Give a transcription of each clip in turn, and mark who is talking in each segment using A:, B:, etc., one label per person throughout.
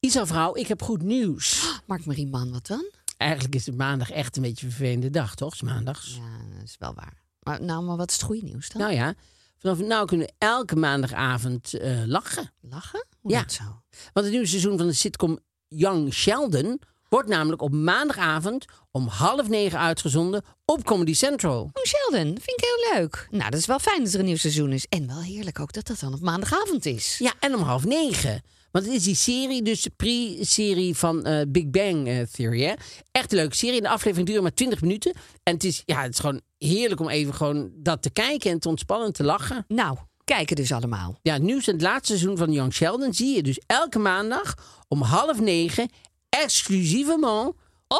A: Isa-vrouw, ik heb goed nieuws.
B: Mark-Marie Maan, wat dan?
A: Eigenlijk is het maandag echt een beetje een vervelende dag, toch? Het is maandags.
B: Ja, dat is wel waar. Maar, nou, maar wat is het goede nieuws dan?
A: Nou ja, vanaf nu kunnen we elke maandagavond eh, lachen.
B: Lachen? Hoe
A: Ja.
B: dat zo? Oh,
A: Want het nieuwe seizoen van de sitcom Young Sheldon wordt namelijk op maandagavond om half negen uitgezonden op Comedy Central.
B: Oh, Sheldon, vind ik heel leuk. Nou, dat is wel fijn dat er een nieuw seizoen is. En wel heerlijk ook dat dat dan op maandagavond is.
A: Ja, en om half negen. Want het is die serie, dus de pre-serie van eh, Big Bang eh, Theory. Hè? Echt een leuke serie. En de aflevering duurt maar 20 minuten. En het is, ja, het is gewoon heerlijk om even gewoon dat te kijken en te ontspannen en te lachen.
B: Nou, kijken dus allemaal.
A: Ja, het nieuws en het laatste seizoen van Young Sheldon zie je dus elke maandag om half negen exclusievement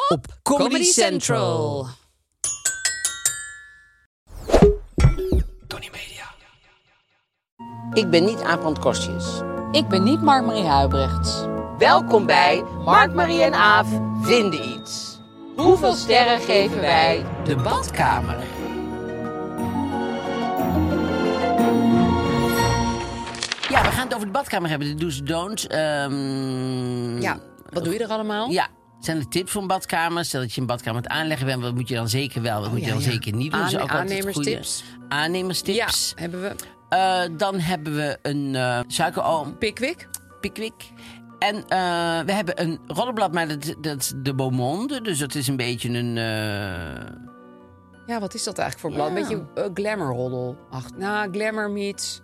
A: op, Comedy, Central. Ik ben niet Aaf Kostjes.
C: Ik ben niet Mark-Marie Huibrechts.
A: Welkom bij Mark, Marie en Aaf vinden iets. Hoeveel sterren geven wij de badkamer? Ja, we gaan het over de badkamer hebben. De do's en don'ts. Ehm,
B: Ja, wat doe je er allemaal?
A: Ja. Zijn er tips voor een badkamer? Stel dat je een badkamer aan het aanleggen bent, wat moet je dan zeker wel? Wat
C: Oh,
A: moet je
B: ja,
A: dan
B: ja.
A: zeker niet doen? Dat is
C: Aan-
A: ook altijd
C: aannemerstips.
A: goede- Aannemerstips.
C: hebben we
A: Eh, dan hebben we een eh suikeroom.
C: Pickwick.
A: Pickwick. En eh, we hebben een rollenblad, maar dat, dat is de Beaumonde. Dus dat is een beetje een... eh,
C: Ja, wat is dat eigenlijk voor blad? Een beetje eh, glamour-roddel. Ach, nou, glamour meets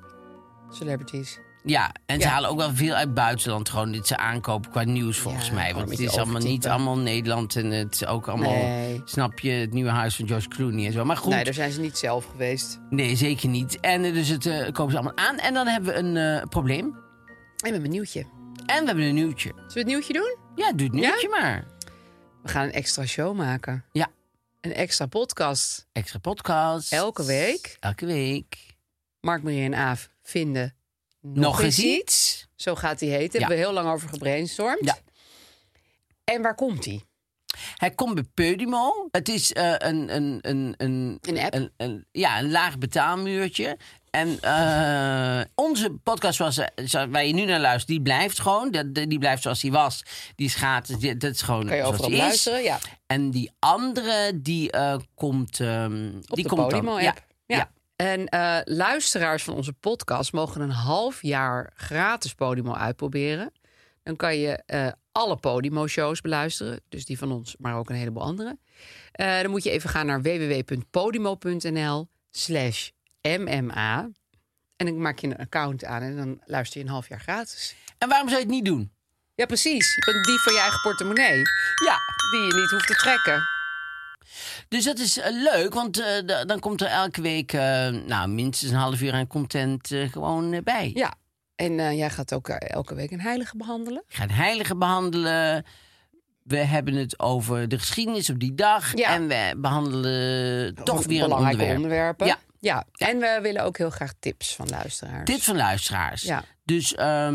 C: celebrities.
A: Ja, en ze
C: Ja.
A: halen ook wel veel uit het buitenland. Gewoon dit ze aankopen qua nieuws volgens
C: Ja,
A: mij.
C: gewoon
A: Want
C: een
A: het
C: beetje
A: is allemaal niet
C: overtypen.
A: allemaal Nederland. En het is ook allemaal,
C: Nee.
A: snap je, het nieuwe huis van Josh Clooney en zo. Maar goed,
C: Nee, daar zijn ze niet zelf geweest.
A: nee, zeker niet. En eh, dus het eh, kopen ze allemaal aan. En dan hebben we een eh, probleem.
C: Ik ben nieuwtje.
A: En we hebben een nieuwtje.
C: Zullen we het nieuwtje doen?
A: Ja, doe het
C: Ja?
A: nieuwtje maar.
C: We gaan een extra show maken.
A: Ja,
C: Een extra podcast.
A: extra podcast.
C: Elke week.
A: Elke week.
C: Mark, Marie en Aaf vinden nog,
A: Nog, eens iets.
C: Zo gaat die
A: Ja.
C: heten. Hebben we heel lang over gebrainstormd.
A: Ja.
C: En waar komt die?
A: Hij komt bij Podimo. Het is eh, een, een, een, een...
C: Een app?
A: Een, een- ja, een laag betaalmuurtje. En eh, onze podcast zoals, zo- waar je nu naar luistert, die blijft gewoon. Dat- Die, blijft zoals die was. Die is gratis. Die- dat is gewoon
C: Kan je
A: zoals
C: overal
A: die is.
C: luisteren? Ja.
A: En die andere, die eh, komt... ehm,
C: Op
A: die
C: de
A: komt dan.
C: Podimo-app.
A: Ja.
C: Ja.
A: ja.
C: En eh, luisteraars van onze podcast mogen een half jaar gratis Podimo uitproberen. Dan kan je eh, alle Podimo-shows beluisteren. Dus die van ons, maar ook een heleboel andere. Eh, dan moet je even gaan naar www.podimo.nl slash mma. En dan maak je een account aan en dan luister je een half jaar gratis.
A: En waarom zou je het niet doen?
C: Ja, precies. Je bent die van je eigen portemonnee.
A: Ja.
C: Die je niet hoeft te trekken.
A: Dus dat is eh, leuk, want eh, da- dan komt er elke week eh, nou, minstens een half uur aan content eh, gewoon eh, bij.
C: Ja. En eh, jij gaat ook eh, elke week een heilige behandelen.
A: Ik ga een heilige behandelen. We hebben het over de geschiedenis op die dag.
C: Ja.
A: En we behandelen toch
C: Van
A: weer een
C: belangrijke
A: onderwerp.
C: onderwerpen.
A: Ja.
C: ja, en we willen ook heel graag tips van luisteraars.
A: Dit van luisteraars.
C: Ja.
A: Dus ehm,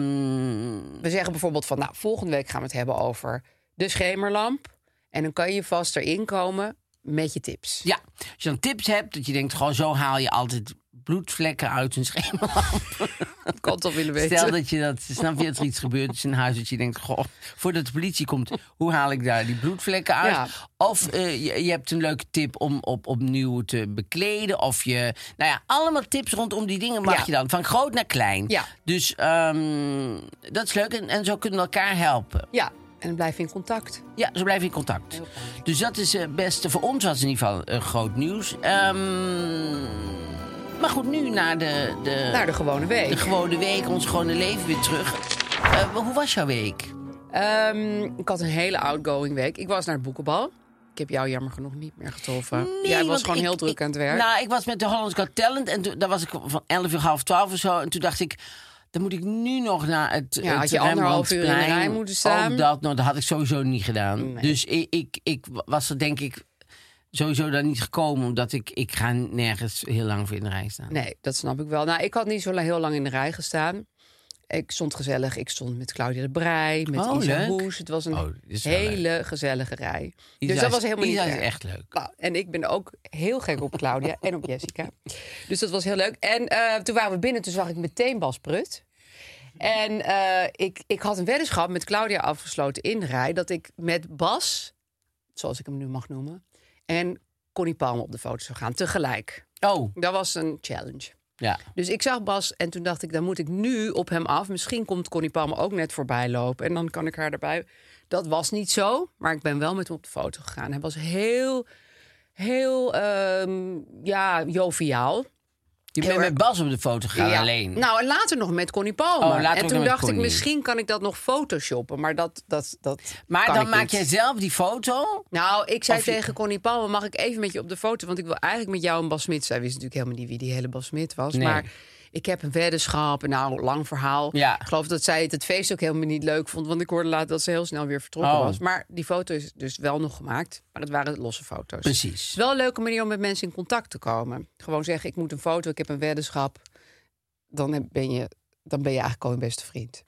C: We zeggen bijvoorbeeld van, nou, volgende week gaan we het hebben over de schemerlamp. En dan kan je vast erin komen met je tips.
A: ja, als je dan tips hebt, dat je denkt, gewoon zo haal je altijd bloedvlekken uit een schemerlamp.
C: Dat kan toch willen weten.
A: Stel dat je dat, snap je, dat er iets gebeurt is in huis, dat je denkt, goh, voordat de politie komt, hoe haal ik daar die bloedvlekken uit?
C: Ja.
A: Of eh, je, je hebt een leuke tip om op, opnieuw te bekleden. Of je, nou ja, allemaal tips rondom die dingen mag
C: Ja.
A: je dan, van groot naar klein.
C: Ja.
A: Dus ehm, dat is leuk en, en zo kunnen we elkaar helpen.
C: Ja, en dan blijf je in contact.
A: Ja, zo blijf je in contact. Dus dat is het beste voor ons, was in ieder geval eh, groot nieuws. Ehm, maar goed, nu naar de, de,
C: Naar de gewone week.
A: de gewone week, ons gewone leven weer terug. Eh, hoe was jouw week?
C: Ehm, ik had een hele outgoing week. Ik was naar het boekenbal. Ik heb jou jammer genoeg niet meer getroffen. Jij was
A: want
C: gewoon
A: ik-
C: heel druk
A: ik-
C: aan het werk.
A: Nou, ik was met de Hollands Got Talent en toen, daar was ik van 11 uur half 12 of zo. En toen dacht ik, dan moet ik nu nog naar het
C: Ja,
A: het
C: had je anderhalf uur in de
A: Rembrandtsplein.
C: rij moeten staan.
A: Oh, dat, nou, dat had ik sowieso niet gedaan.
C: Nee.
A: Dus ik, ik, ik was er denk ik sowieso daar niet gekomen. Omdat ik, ik ga nergens heel lang voor in de rij staan.
C: Nee, dat snap ik wel. Nou, ik had niet zo la- heel lang in de rij gestaan. Ik stond gezellig. Ik stond met Claudia de Brij, met
A: Oh,
C: Isa
A: leuk.
C: Hoes. Het was een
A: Oh, dit is wel
C: hele gezellige rij.
A: Isa
C: dus dat
A: is-
C: was helemaal
A: Isa
C: niet
A: is
C: erg.
A: echt leuk.
C: Nou, en ik ben ook heel gek op Claudia en op Jessica. Dus dat was heel leuk. En eh, toen waren we binnen, toen zag ik meteen Bas Prut. En eh, ik, ik had een weddenschap met Claudia afgesloten in de rij... dat ik met Bas, zoals ik hem nu mag noemen... en Connie Palm op de foto zou gaan, tegelijk.
A: Oh,
C: Dat was een challenge.
A: ja.
C: Dus ik zag Bas en toen dacht ik, dan moet ik nu op hem af. Misschien komt Connie Palme ook net voorbij lopen en dan kan ik haar erbij. Dat was niet zo, maar ik ben wel met hem op de foto gegaan. Hij was heel, heel, ehm, ja, joviaal.
A: Je bent
C: erg-
A: met Bas op de foto gegaan
C: Ja.
A: alleen.
C: Nou, en later nog met Connie Palme.
A: Oh, later
C: en
A: ook
C: toen
A: nog met
C: dacht ik,
A: Connie.
C: misschien kan ik dat nog photoshoppen. Maar dat, dat, dat
A: maar
C: kan
A: dan
C: ik
A: maak
C: niet.
A: jij zelf die foto.
C: Nou, ik zei
A: Of je-
C: tegen Connie Palme, mag ik even met je op de foto? Want ik wil eigenlijk met jou en Bas Smit. Zij wist natuurlijk helemaal niet wie die hele Bas Smit was.
A: Nee.
C: Maar ik heb een weddenschap, en nou, lang verhaal.
A: Ja.
C: Ik geloof dat zij het, het feest ook helemaal niet leuk vond. Want ik hoorde later dat ze heel snel weer vertrokken
A: Oh.
C: was. Maar die foto is dus wel nog gemaakt. Maar dat waren losse foto's.
A: Precies.
C: Het is wel een leuke manier om met mensen in contact te komen. Gewoon zeggen, ik moet een foto, ik heb een weddenschap. Dan heb- ben je, dan ben je eigenlijk al een beste vriend.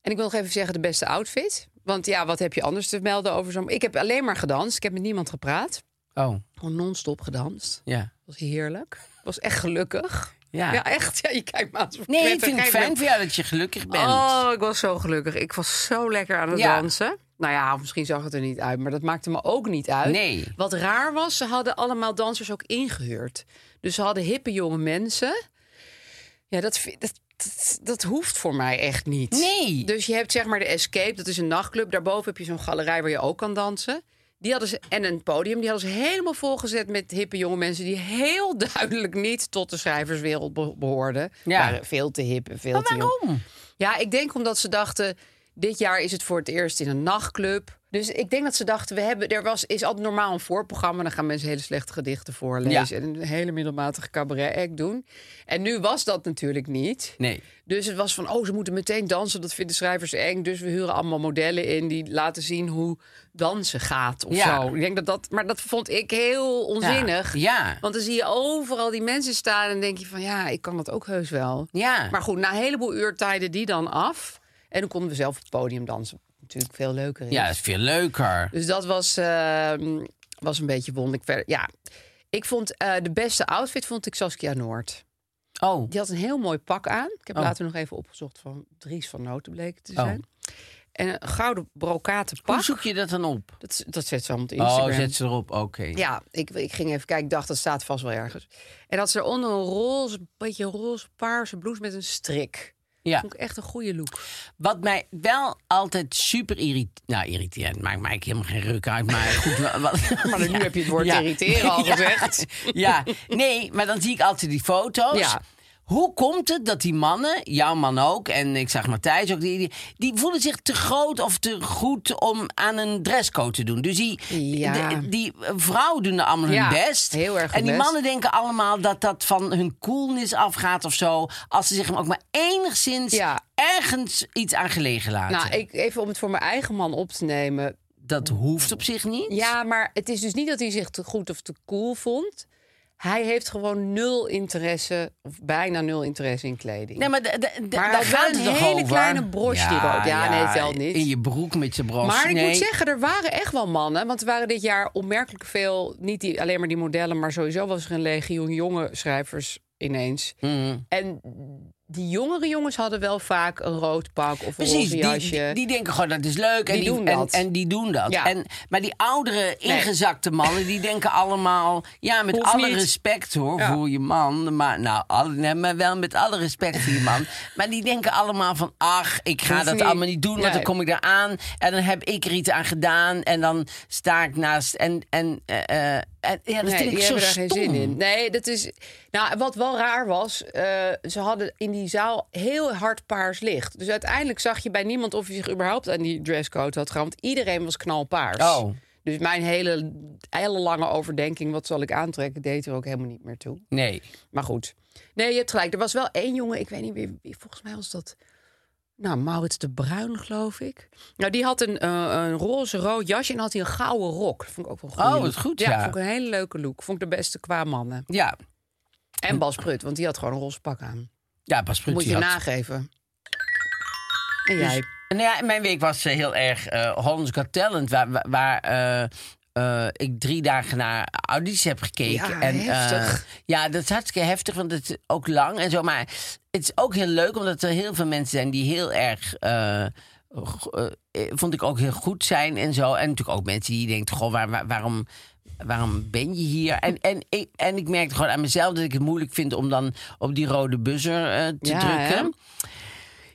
C: En ik wil nog even zeggen, de beste outfit. Want ja, wat heb je anders te melden over zo'n... Ik heb alleen maar gedanst, ik heb met niemand gepraat.
A: Oh,
C: Gewoon non-stop gedanst.
A: ja.
C: was heerlijk. was echt gelukkig.
A: Ja.
C: Ja, echt. Ja, je kijkt me aan. alsof
A: Nee, ik
C: prettig.
A: vind het
C: ben-
A: fijn voor jou dat je gelukkig bent.
C: Oh, ik was zo gelukkig. Ik was zo lekker aan het
A: Ja.
C: dansen. Nou ja, of misschien zag het er niet uit, maar dat maakte me ook niet uit.
A: Nee.
C: Wat raar was, ze hadden allemaal dansers ook ingehuurd. Dus ze hadden hippe jonge mensen. Ja, dat, vind- dat, dat, dat hoeft voor mij echt niet.
A: Nee.
C: Dus je hebt zeg maar de Escape, dat is een nachtclub. Daarboven heb je zo'n galerij waar je ook kan dansen. Die hadden ze, en een podium, die hadden ze helemaal volgezet met hippe jonge mensen... die heel duidelijk niet tot de schrijverswereld be- behoorden.
A: Ja.
C: Waren veel te hip en veel
A: Maar
C: te jong.
A: waarom?
C: Ja, ik denk omdat ze dachten, dit jaar is het voor het eerst in een nachtclub. Dus ik denk dat ze dachten, we hebben, er was, is altijd normaal een voorprogramma. Dan gaan mensen hele slechte gedichten voorlezen. En een hele middelmatige cabaret act doen. En nu was dat natuurlijk niet.
A: Nee.
C: Dus het was van, oh, ze moeten meteen dansen. Dat vinden schrijvers eng. Dus we huren allemaal modellen in die laten zien hoe dansen gaat of
A: Ja.
C: zo. Ik denk dat dat, maar dat vond ik heel
A: Ja.
C: onzinnig.
A: Ja.
C: Want dan zie je overal die mensen staan en denk je van, ja, ik kan dat ook heus wel.
A: Ja.
C: Maar goed, na een heleboel uur tijden die dan af. En dan konden we zelf op het podium dansen. Wat Natuurlijk veel leuker. Is.
A: ja, dat is veel leuker.
C: Dus dat was, ehm, was een beetje wonderlijk. Verder, ja. Ik vond eh, de beste outfit vond ik Saskia Noord.
A: Oh,
C: Die had een heel mooi pak aan. Ik heb
A: Oh.
C: later nog even opgezocht van Dries van Noten bleek het te
A: Oh.
C: zijn. En een gouden brokaten
A: hoe
C: pak.
A: zoek je dat dan op?
C: Dat, dat zet ze allemaal op Instagram.
A: Oh, zet ze erop. Oké.
C: Ja, ik, ik ging even kijken. Ik dacht, dat staat vast wel ergens. En had ze eronder een roze, beetje roze, paarse blouse met een strik.
A: Ja.
C: Vond ik echt een goede look.
A: Wat mij wel altijd super irriteert. Nou, irriterend maakt mij eigenlijk helemaal geen ruk uit. Maar goed, wa- wat-
C: Maar dan nu heb je het woord irriteren al gezegd.
A: Ja, nee, maar dan zie ik altijd die foto's.
C: Ja.
A: Hoe komt het dat die mannen, jouw man ook, en ik zag Matthijs ook, die, die, die voelen zich te groot of te goed om aan een dresscode te doen. Dus die,
C: Ja.
A: de- die vrouwen doen er allemaal
C: Ja,
A: hun best.
C: heel erg hun
A: En die
C: best.
A: mannen denken allemaal dat dat van hun coolness afgaat of zo. Als ze zich ook maar enigszins
C: Ja.
A: ergens iets aan gelegen laten.
C: Nou, ik, even om het voor mijn eigen man op te nemen.
A: Dat hoeft op zich niet.
C: Ja, maar het is dus niet dat hij zich te goed of te cool vond. Hij heeft gewoon nul interesse, of bijna nul interesse in kleding.
A: Nee, maar, d- d- d-
C: Maar
A: daar
C: hij
A: gaat
C: gaat
A: het
C: een
A: toch
C: hele
A: over?
C: kleine brosje erop. Ja, nee, telt niet.
A: In je broek met je bros.
C: maar ik
A: Nee.
C: moet zeggen, er waren echt wel mannen. Want er waren dit jaar opmerkelijk veel, niet die, alleen maar die modellen... maar sowieso was er een legioen jonge schrijvers ineens.
A: Mm.
C: En die jongere jongens hadden wel vaak een rood pak of een
A: Precies,
C: roze
A: die,
C: jasje.
A: die, die denken gewoon dat is leuk. en
C: Die doen
A: en,
C: dat.
A: En die doen dat.
C: Ja.
A: En, maar die oudere, ingezakte mannen, die denken allemaal... Ja, met
C: Hoeft
A: alle
C: niet.
A: respect hoor,
C: Ja.
A: voor je man. Maar, nou, alle, nee, maar wel met alle respect voor je man. Maar die denken allemaal van... Ach, ik ga
C: Hoeft
A: dat
C: niet.
A: allemaal niet doen, want dan
C: Nee.
A: kom ik daar aan. En dan heb ik er iets aan gedaan. En dan sta ik naast... En, en, eh, eh, en- ja, dat
C: nee,
A: vind ik
C: die
A: zo
C: hebben daar
A: stom.
C: geen zin in. Nee, dat is. Nou, wat wel raar was, eh, ze hadden in die zaal heel hard paars licht. Dus uiteindelijk zag je bij niemand of hij zich überhaupt aan die dresscode had gehouden. Want iedereen was knalpaars.
A: Oh.
C: Dus mijn hele, hele lange overdenking, wat zal ik aantrekken, deed er ook helemaal niet meer toe.
A: Nee.
C: Maar goed. Nee, je hebt gelijk. Er was wel één jongen, ik weet niet meer, wie- volgens mij was dat... Nou, Maurits de Bruin, geloof ik. Nou, die had een, eh, een roze rood jasje en had hij een gouden rok. Dat vond ik ook wel een goede
A: Oh, wat
C: look.
A: goed,
C: ja.
A: ja.
C: vond ik een hele leuke look. Vond ik de beste qua mannen.
A: Ja,
C: En Bas Prut, want die had gewoon een roze pak aan.
A: ja pas
C: Moet
A: precies.
C: je nageven. En jij?
A: Dus Nou ja, mijn week was eh, heel erg eh Hollands Got Talent, waar, waar, waar, eh, eh, ik drie dagen naar audities heb gekeken.
C: Ja,
A: en, eh,
C: heftig.
A: ja, dat is hartstikke heftig, want het is ook lang en zo. Maar het is ook heel leuk, omdat er heel veel mensen zijn die heel erg... eh, go- eh, eh, vond ik ook heel goed zijn en zo. En natuurlijk ook mensen die denken, goh, waar- waar- waarom... Waarom ben je hier? En, en, ik, en ik merkte gewoon aan mezelf dat ik het moeilijk vind om dan op die rode buzzer eh, te
C: Ja, hè?
A: drukken.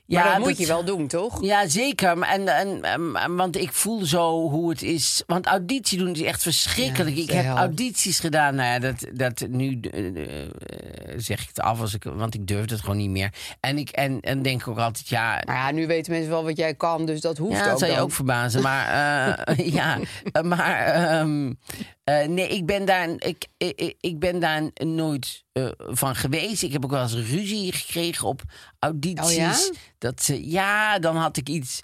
C: Ja, dat, moet je wel doen, toch?
A: Ja, zeker. Maar En, en, en- want ik voel zo hoe het is. Want auditie doen is echt verschrikkelijk.
C: Ja,
A: ik
C: de
A: heb
C: hel.
A: audities gedaan. Nou ja, dat, dat nu eh, eh, zeg ik het af, als ik, want ik durf het gewoon niet meer. En ik en, en denk ook altijd, ja,
C: Maar ja, nu weten mensen wel wat jij kan, dus dat hoeft
A: ja,
C: ook
A: dat zou je
C: dan.
A: ook verbazen. Maar eh, ja, eh, maar ehm, eh, nee, ik ben daar, ik, ik, ik ben daar nooit eh, van geweest. Ik heb ook wel eens ruzie gekregen op audities.
C: Oh ja?
A: Dat ze, ja, dan had ik iets.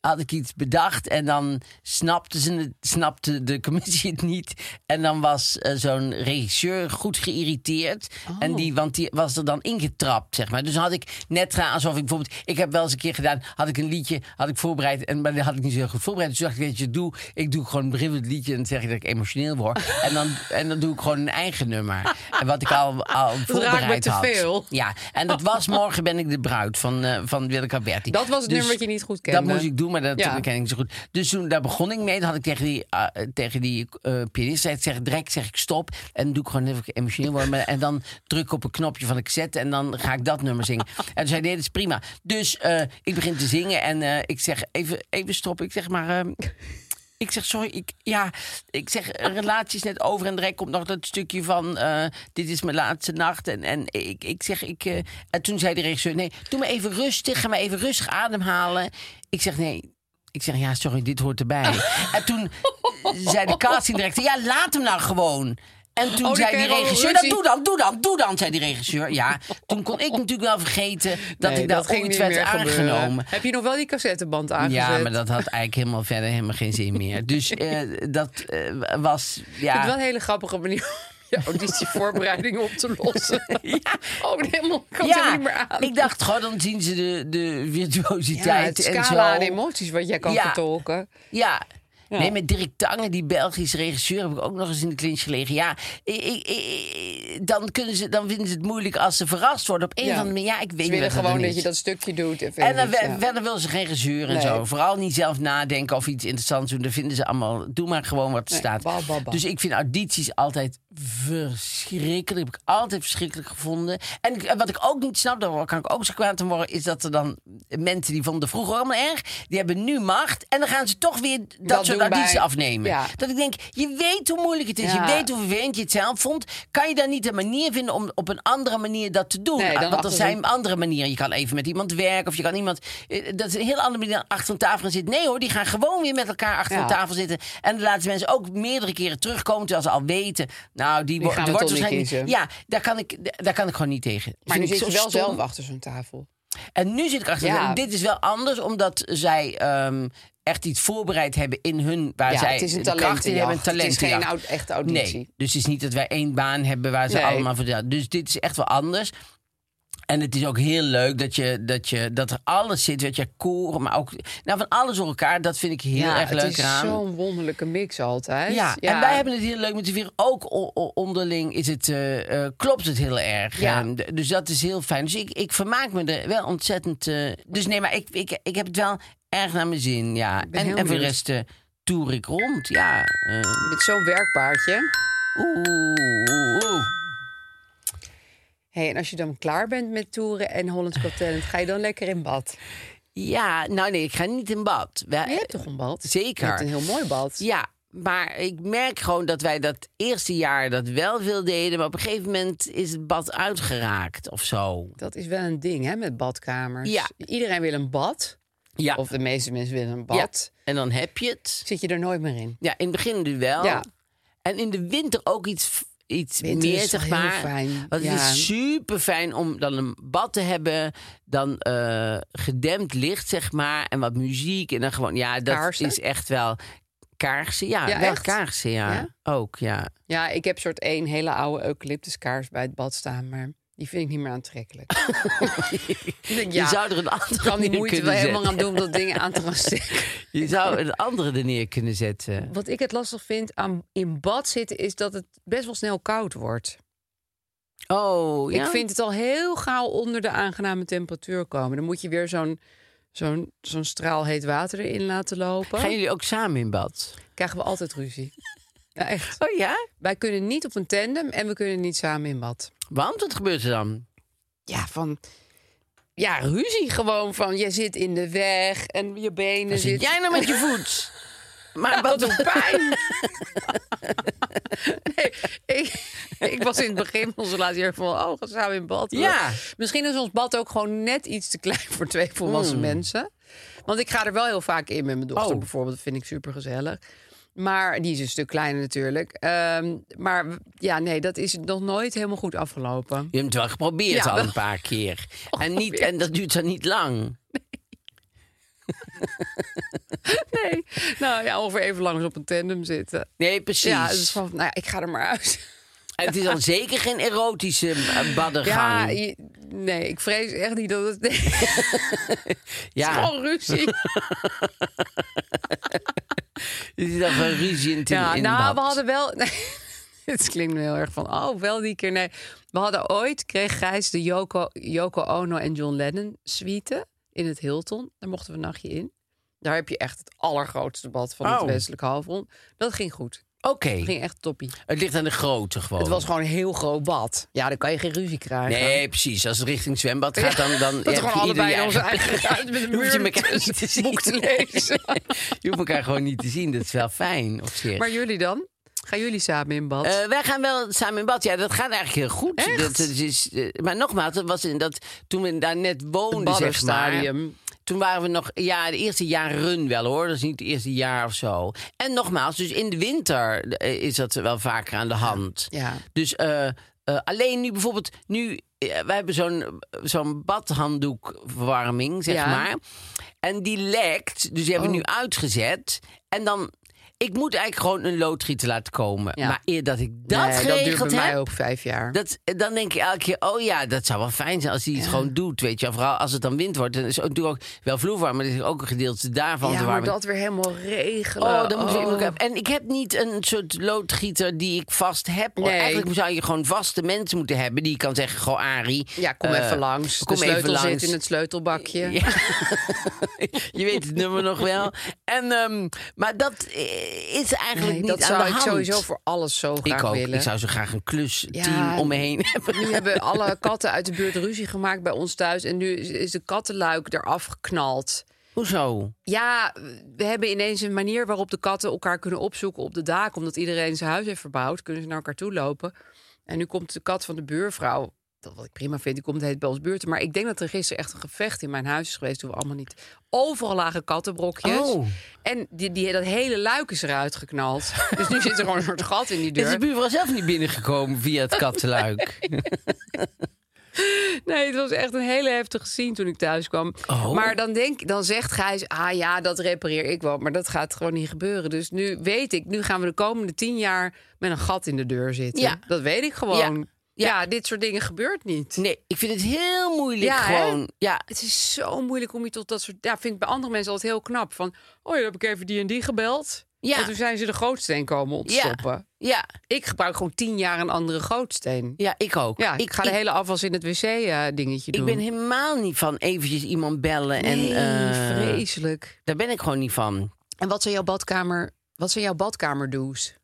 A: Had ik iets bedacht en dan snapte, ze het, snapte de commissie het niet. En dan was eh, zo'n regisseur goed geïrriteerd.
C: Oh.
A: En die, want die was er dan ingetrapt, zeg maar. Dus had ik net gedaan alsof ik bijvoorbeeld... Ik heb wel eens een keer gedaan, had ik een liedje, had ik voorbereid... En, maar dat had ik niet zo heel goed voorbereid. Dus dacht ik, weet je, doe, ik doe gewoon het begin van het liedje... en dan zeg ik dat ik emotioneel word. en, dan, en dan doe ik gewoon een eigen nummer. En wat ik al, al voorbereid
C: te
A: had.
C: veel.
A: Ja, en dat was morgen ben ik de bruid van, eh van Willeke Alberti.
C: Dat was het
A: Dus
C: nummer wat je niet goed kende.
A: Dat moest ik doen, maar dat
C: Ja.
A: ken ik niet zo goed. Dus toen, daar begon ik mee. Dan had ik tegen die, eh, tegen die eh, pianist gezegd, zeg, direct zeg ik stop. En doe ik gewoon even emotioneel worden. Maar- En dan druk ik op een knopje van ik zet en dan ga ik dat nummer zingen. En toen zei hij, nee, dat is prima. Dus eh, ik begin te zingen en eh, ik zeg, even, even stop. Ik zeg maar... ehm, ik zeg, sorry, ik, ja, ik zeg, eh, relatie is net over en direct komt nog dat stukje van, eh, dit is mijn laatste nacht. En, en ik, ik zeg, ik, eh, en toen zei de regisseur, nee, doe maar even rustig, ga maar even rustig ademhalen. Ik zeg, nee, ik zeg, ja, sorry, dit hoort erbij. en toen zei de castingdirecteur, ja, laat hem nou gewoon. En toen
C: Oh, die
A: zei die
C: kerel,
A: regisseur,
C: ruzie.
A: dat doe dan, doe dan, doe dan, zei die regisseur. Ja, toen kon ik natuurlijk wel vergeten dat
C: Nee,
A: ik daar
C: ging
A: ooit
C: niet
A: werd
C: meer gebeuren.
A: aangenomen.
C: Heb je nog wel die cassetteband aangezet?
A: Ja, maar dat had eigenlijk helemaal verder helemaal geen zin meer. Dus eh, dat eh, was.
C: Ik vind het
A: Ja.
C: wel een hele grappige manier om je auditievoorbereiding op te lossen. Oh, helemaal, ik kan het
A: ja,
C: helemaal niet meer aan.
A: ik dacht gewoon, dan zien ze de, de
C: ja, het
A: virtuositeit en zo.
C: scala aan emoties wat jij kan
A: Ja.
C: vertolken.
A: Ja. Nee, met Dirk Tange, die Belgische regisseur, heb ik ook nog eens in de clinch gelegen. Ja, ik, ik- ik- dan, kunnen ze, dan vinden ze het moeilijk als ze verrast worden. Op een
C: Ja.
A: of andere manier, ja, ik weet
C: Ze
A: niet
C: willen
A: wat
C: gewoon
A: dan
C: dat je
A: is.
C: dat stukje doet. En,
A: En
C: verder
A: dan
C: niks,
A: we-
C: ja.
A: verder wil ze geen gezeur en
C: Nee.
A: zo. Vooral niet zelf nadenken of iets interessants doen. Dat vinden ze allemaal. Doe maar gewoon wat er
C: Nee,
A: staat.
C: ba, ba, ba.
A: Dus ik vind audities altijd verschrikkelijk. Heb ik altijd verschrikkelijk gevonden. En ik- en wat ik ook niet snap, daar kan ik ook zo kwaad om worden, is dat er dan mensen die vonden vroeger allemaal erg, die hebben nu macht. En dan gaan ze toch weer dat,
C: Dat
A: soort
C: doen
A: audities
C: bij-
A: afnemen.
C: Ja.
A: Dat ik denk, je weet hoe moeilijk het is.
C: Ja.
A: Je weet hoe vervelend je het zelf vond. Kan je dan niet een manier vinden om op een andere manier dat te doen? Ah,
C: Nee, dan
A: Want
C: achter
A: er
C: de-
A: zijn andere manieren. Je kan even met iemand werken of je kan iemand. eh, Dat is een heel andere manier dan achter een tafel gaan zitten. Nee hoor, die gaan gewoon weer met elkaar achter
C: Ja.
A: een tafel zitten. En dan laten ze mensen ook meerdere keren terugkomen terwijl ze al weten. Nou, die, wo-
C: gaan
A: die
C: we
A: wordt
C: toch niet
A: waarschijnlijk. niet-
C: kiezen.
A: Ja, daar kan, ik, da- daar kan ik gewoon niet tegen.
C: Maar nu
A: Vind ik
C: zit je
A: zo
C: wel
A: stom.
C: zelf achter zo'n tafel.
A: En nu zit ik achter.
C: Ja.
A: Dit is wel anders omdat zij. ehm, Echt iets voorbereid hebben in hun. Waar
C: Ja,
A: zij
C: het is een
A: de kracht in
C: talentenjacht.
A: hebben. Een
C: Het is geen
A: talentenjacht.
C: au- echte auditie.
A: Nee. Dus het is niet dat wij één baan hebben waar ze
C: Nee.
A: allemaal voor. Dus dit is echt wel anders. En het is ook heel leuk dat, je, dat, je, dat er alles zit. Weet je, koren, maar ook nou, van alles door elkaar. Dat vind ik heel
C: ja,
A: erg leuk
C: het is
A: aan.
C: zo'n wonderlijke mix altijd.
A: Ja, en wij hebben het heel leuk met de vier. Ook o- o- onderling is het, eh, eh, klopt het heel erg.
C: Ja.
A: En d- dus dat is heel fijn. Dus ik, ik vermaak me er wel ontzettend. eh, dus nee, maar ik, ik, ik heb het wel erg naar mijn zin. Ja.
C: ben
A: En, en
C: heel
A: voor de
C: benieuwd.
A: rest eh, toer ik rond. Ja. eh,
C: Met zo'n werkpaardje.
A: oeh, oeh, oeh.
C: Hey, en als je dan klaar bent met toeren en Hollands Got Talent, ga je dan lekker in bad?
A: Ja, nou nee, ik ga niet in bad. Wij-
C: Je hebt toch een bad?
A: Zeker.
C: Je hebt een heel mooi bad.
A: Ja, maar ik merk gewoon dat wij dat eerste jaar dat wel veel deden. Maar op een gegeven moment is het bad uitgeraakt of zo.
C: Dat is wel een ding, hè, met badkamers.
A: Ja.
C: Iedereen wil een bad.
A: Ja.
C: Of de meeste mensen willen een
A: Ja,
C: bad.
A: En dan heb je het.
C: Zit je er nooit meer in.
A: Ja, in het begin nu wel.
C: Ja.
A: En in de winter ook iets, iets
C: Winter
A: meer,
C: is
A: zeg
C: wel heel
A: maar.
C: fijn,
A: Want het
C: ja.
A: is super fijn om dan een bad te hebben. Dan eh, gedempt licht, zeg maar. En wat muziek. En dan gewoon, ja, dat
C: Kaarsen?
A: is echt wel kaarsen. Ja,
C: Ja,
A: wel
C: echt?
A: kaarsen, ja.
C: Ja?
A: Ook, ja.
C: Ja, ik heb soort één hele oude eucalyptuskaars bij het bad staan. Maar Die vind ik niet meer aantrekkelijk. Ik denk,
A: Je
C: ja,
A: zou er een andere
C: kan die
A: neer
C: moeite wel
A: kunnen
C: helemaal
A: zetten.
C: aan doen om dat dingen aan te gaan steken.
A: Je zou een andere er neer kunnen zetten.
C: Wat ik het lastig vind aan in bad zitten is dat het best wel snel koud wordt.
A: Oh, ja?
C: Ik vind het al heel gauw onder de aangename temperatuur komen. Dan moet je weer zo'n zo'n zo'n straal heet water erin laten lopen.
A: Gaan jullie ook samen in bad?
C: Krijgen we altijd ruzie. Ja, echt.
A: Oh ja?
C: Wij kunnen niet op een tandem en we kunnen niet samen in bad.
A: Want wat gebeurt er dan?
C: Ja, van ja, ruzie gewoon van je zit in de weg en je benen
A: Dan zit
C: zitten
A: jij nou met je voet. Maar
C: Wat
A: wat...
C: een pijn! nee, ik, ik was in het begin van onze laatste jaar van... oh, gaan we samen in bad?
A: Ja.
C: Misschien is ons bad ook gewoon net iets te klein voor twee volwassen mensen. Want ik ga er wel heel vaak in met mijn dochter
A: Oh.
C: bijvoorbeeld. Dat vind ik supergezellig. Maar die is een stuk kleiner natuurlijk. Ehm, maar w- ja, nee, dat is nog nooit helemaal goed afgelopen.
A: Je hebt het wel geprobeerd
C: Ja, Oh,
A: al
C: wel.
A: een paar keer. En, niet, en dat duurt dan niet lang.
C: Nee, nou ja, ongeveer even lang als op een tandem zitten.
A: Nee, precies.
C: Ja, het is van, nou ja, ik ga er maar uit.
A: En het is dan zeker geen erotische eh,
C: Ja,
A: baddengang.
C: je- nee, ik vrees echt niet dat het...
A: Ja,
C: Gewoon ruzie.
A: het is dan van ruzie in,
C: Ja,
A: in
C: nou,
A: bad.
C: we hadden wel. Nee, het klinkt nu heel erg van. Oh, wel die keer. Nee. We hadden ooit. kreeg Gijs de Yoko, Yoko Ono en John Lennon suite. in het Hilton. Daar mochten we een nachtje in. Daar heb je echt het allergrootste bad van
A: Oh.
C: het westelijk halfrond. Dat ging goed.
A: Oké,
C: Dat ging echt toppie.
A: het ligt aan de grootte gewoon.
C: Het was gewoon een heel groot bad. Ja, dan kan je geen ruzie krijgen.
A: Nee, precies. Als het richting zwembad gaat, dan, dan
C: Dat we
A: heb
C: gewoon
A: je ieder
C: allebei in
A: je
C: onze
A: eigen-
C: eigen ruimte met een
A: Hoef je
C: muur
A: elkaar
C: ertussen
A: niet te
C: het
A: zien.
C: boek te lezen.
A: Je hoeft elkaar gewoon niet te zien. Dat is wel fijn op zich.
C: Maar jullie dan? Gaan jullie samen in bad?
A: Eh, wij gaan wel samen in bad. Ja, dat gaat eigenlijk heel goed.
C: Echt?
A: Dat, dat is, eh, maar nogmaals, dat was in dat, toen we daar net woonden, zeg maar,
C: Baddenstadium.
A: toen waren we nog, ja, de eerste jaren wel hoor. Dat is niet het eerste jaar of zo. En nogmaals, dus in de winter eh, is dat wel vaker aan de hand.
C: Ja.
A: Dus eh, eh, alleen nu bijvoorbeeld, nu, eh, wij hebben zo'n zo'n badhanddoekverwarming, zeg
C: Ja. Oh.
A: maar. En die lekt, dus die hebben we nu uitgezet. En dan, ik moet eigenlijk gewoon een loodgieter laten komen.
C: Ja.
A: Maar eer dat ik dat
C: nee, dat duurt
A: geregeld
C: bij
A: heb...
C: mij ook vijf jaar.
A: Dat, eh, dan denk je elke keer, oh ja, dat zou wel fijn zijn als hij het gewoon doet. Weet je, vooral als het dan wind wordt. Dan is ook, doe ook wel vloerwarm, maar er is ook een gedeelte daarvan te
C: ja, maar
A: warmen.
C: dat weer helemaal regelen.
A: Oh, dan moet ik ook hebben. En ik heb niet een soort loodgieter die ik vast heb.
C: Nee.
A: Eigenlijk zou je gewoon vaste mensen moeten hebben die je kan zeggen: Goh, Arie.
C: Ja, kom
A: eh,
C: even langs.
A: Kom
C: de
A: even
C: sleutel
A: langs.
C: zit in het sleutelbakje.
A: Ja. je weet het nummer nog wel. En, ehm, maar dat eh, is eigenlijk
C: Nee,
A: niet
C: dat
A: aan
C: zou
A: de
C: ik
A: hand.
C: sowieso voor alles zo graag
A: ik ook.
C: willen.
A: Ik zou zo graag een klusteam
C: Ja.
A: om me heen hebben.
C: Nu hebben alle katten uit de buurt ruzie gemaakt bij ons thuis. En nu is- is de kattenluik eraf geknald.
A: Hoezo?
C: Ja, we hebben ineens een manier waarop de katten elkaar kunnen opzoeken op de daken. Omdat iedereen zijn huis heeft verbouwd, kunnen ze naar elkaar toe lopen. En nu komt de kat van de buurvrouw. dat Wat ik prima vind, die komt heet bij ons buurten. Maar ik denk dat er gisteren echt een gevecht in mijn huis is geweest. Toen we allemaal niet. Overal lagen kattenbrokjes.
A: Oh.
C: En die, die, dat hele luik is eruit geknald. Dus nu zit er gewoon een soort gat in die
A: Is de
C: deur.
A: buurvrouw zelf niet binnengekomen via het kattenluik?
C: Nee, het was echt een hele heftige scene toen ik thuis kwam.
A: Oh.
C: Maar dan, denk, dan zegt Gijs, ah ja, dat repareer ik wel. Maar dat gaat gewoon niet gebeuren. Dus nu weet ik, nu gaan we de komende tien jaar met een gat in de deur zitten.
A: Ja.
C: Dat weet ik gewoon.
A: Ja.
C: Ja.
A: Ja.
C: dit soort dingen gebeurt niet.
A: Nee, ik vind het heel moeilijk
C: Ja, hè?
A: gewoon. Ja,
C: Het is zo moeilijk om je tot dat soort... Ja, vind ik bij andere mensen altijd heel knap. Van, oh, ja, heb ik even die en die gebeld.
A: Ja.
C: En toen zijn ze de gootsteen komen ontstoppen.
A: ja,
C: Ik gebruik gewoon tien jaar een andere gootsteen.
A: ja, ik ook.
C: Ja, ik, ga de hele afwas in het wc-dingetje
A: ik
C: doen.
A: ben helemaal niet van eventjes iemand bellen.
C: Nee,
A: en, eh,
C: vreselijk.
A: Daar ben ik gewoon niet van.
C: En wat zijn jouw badkamer... Wat zijn jouw badkamerdo's?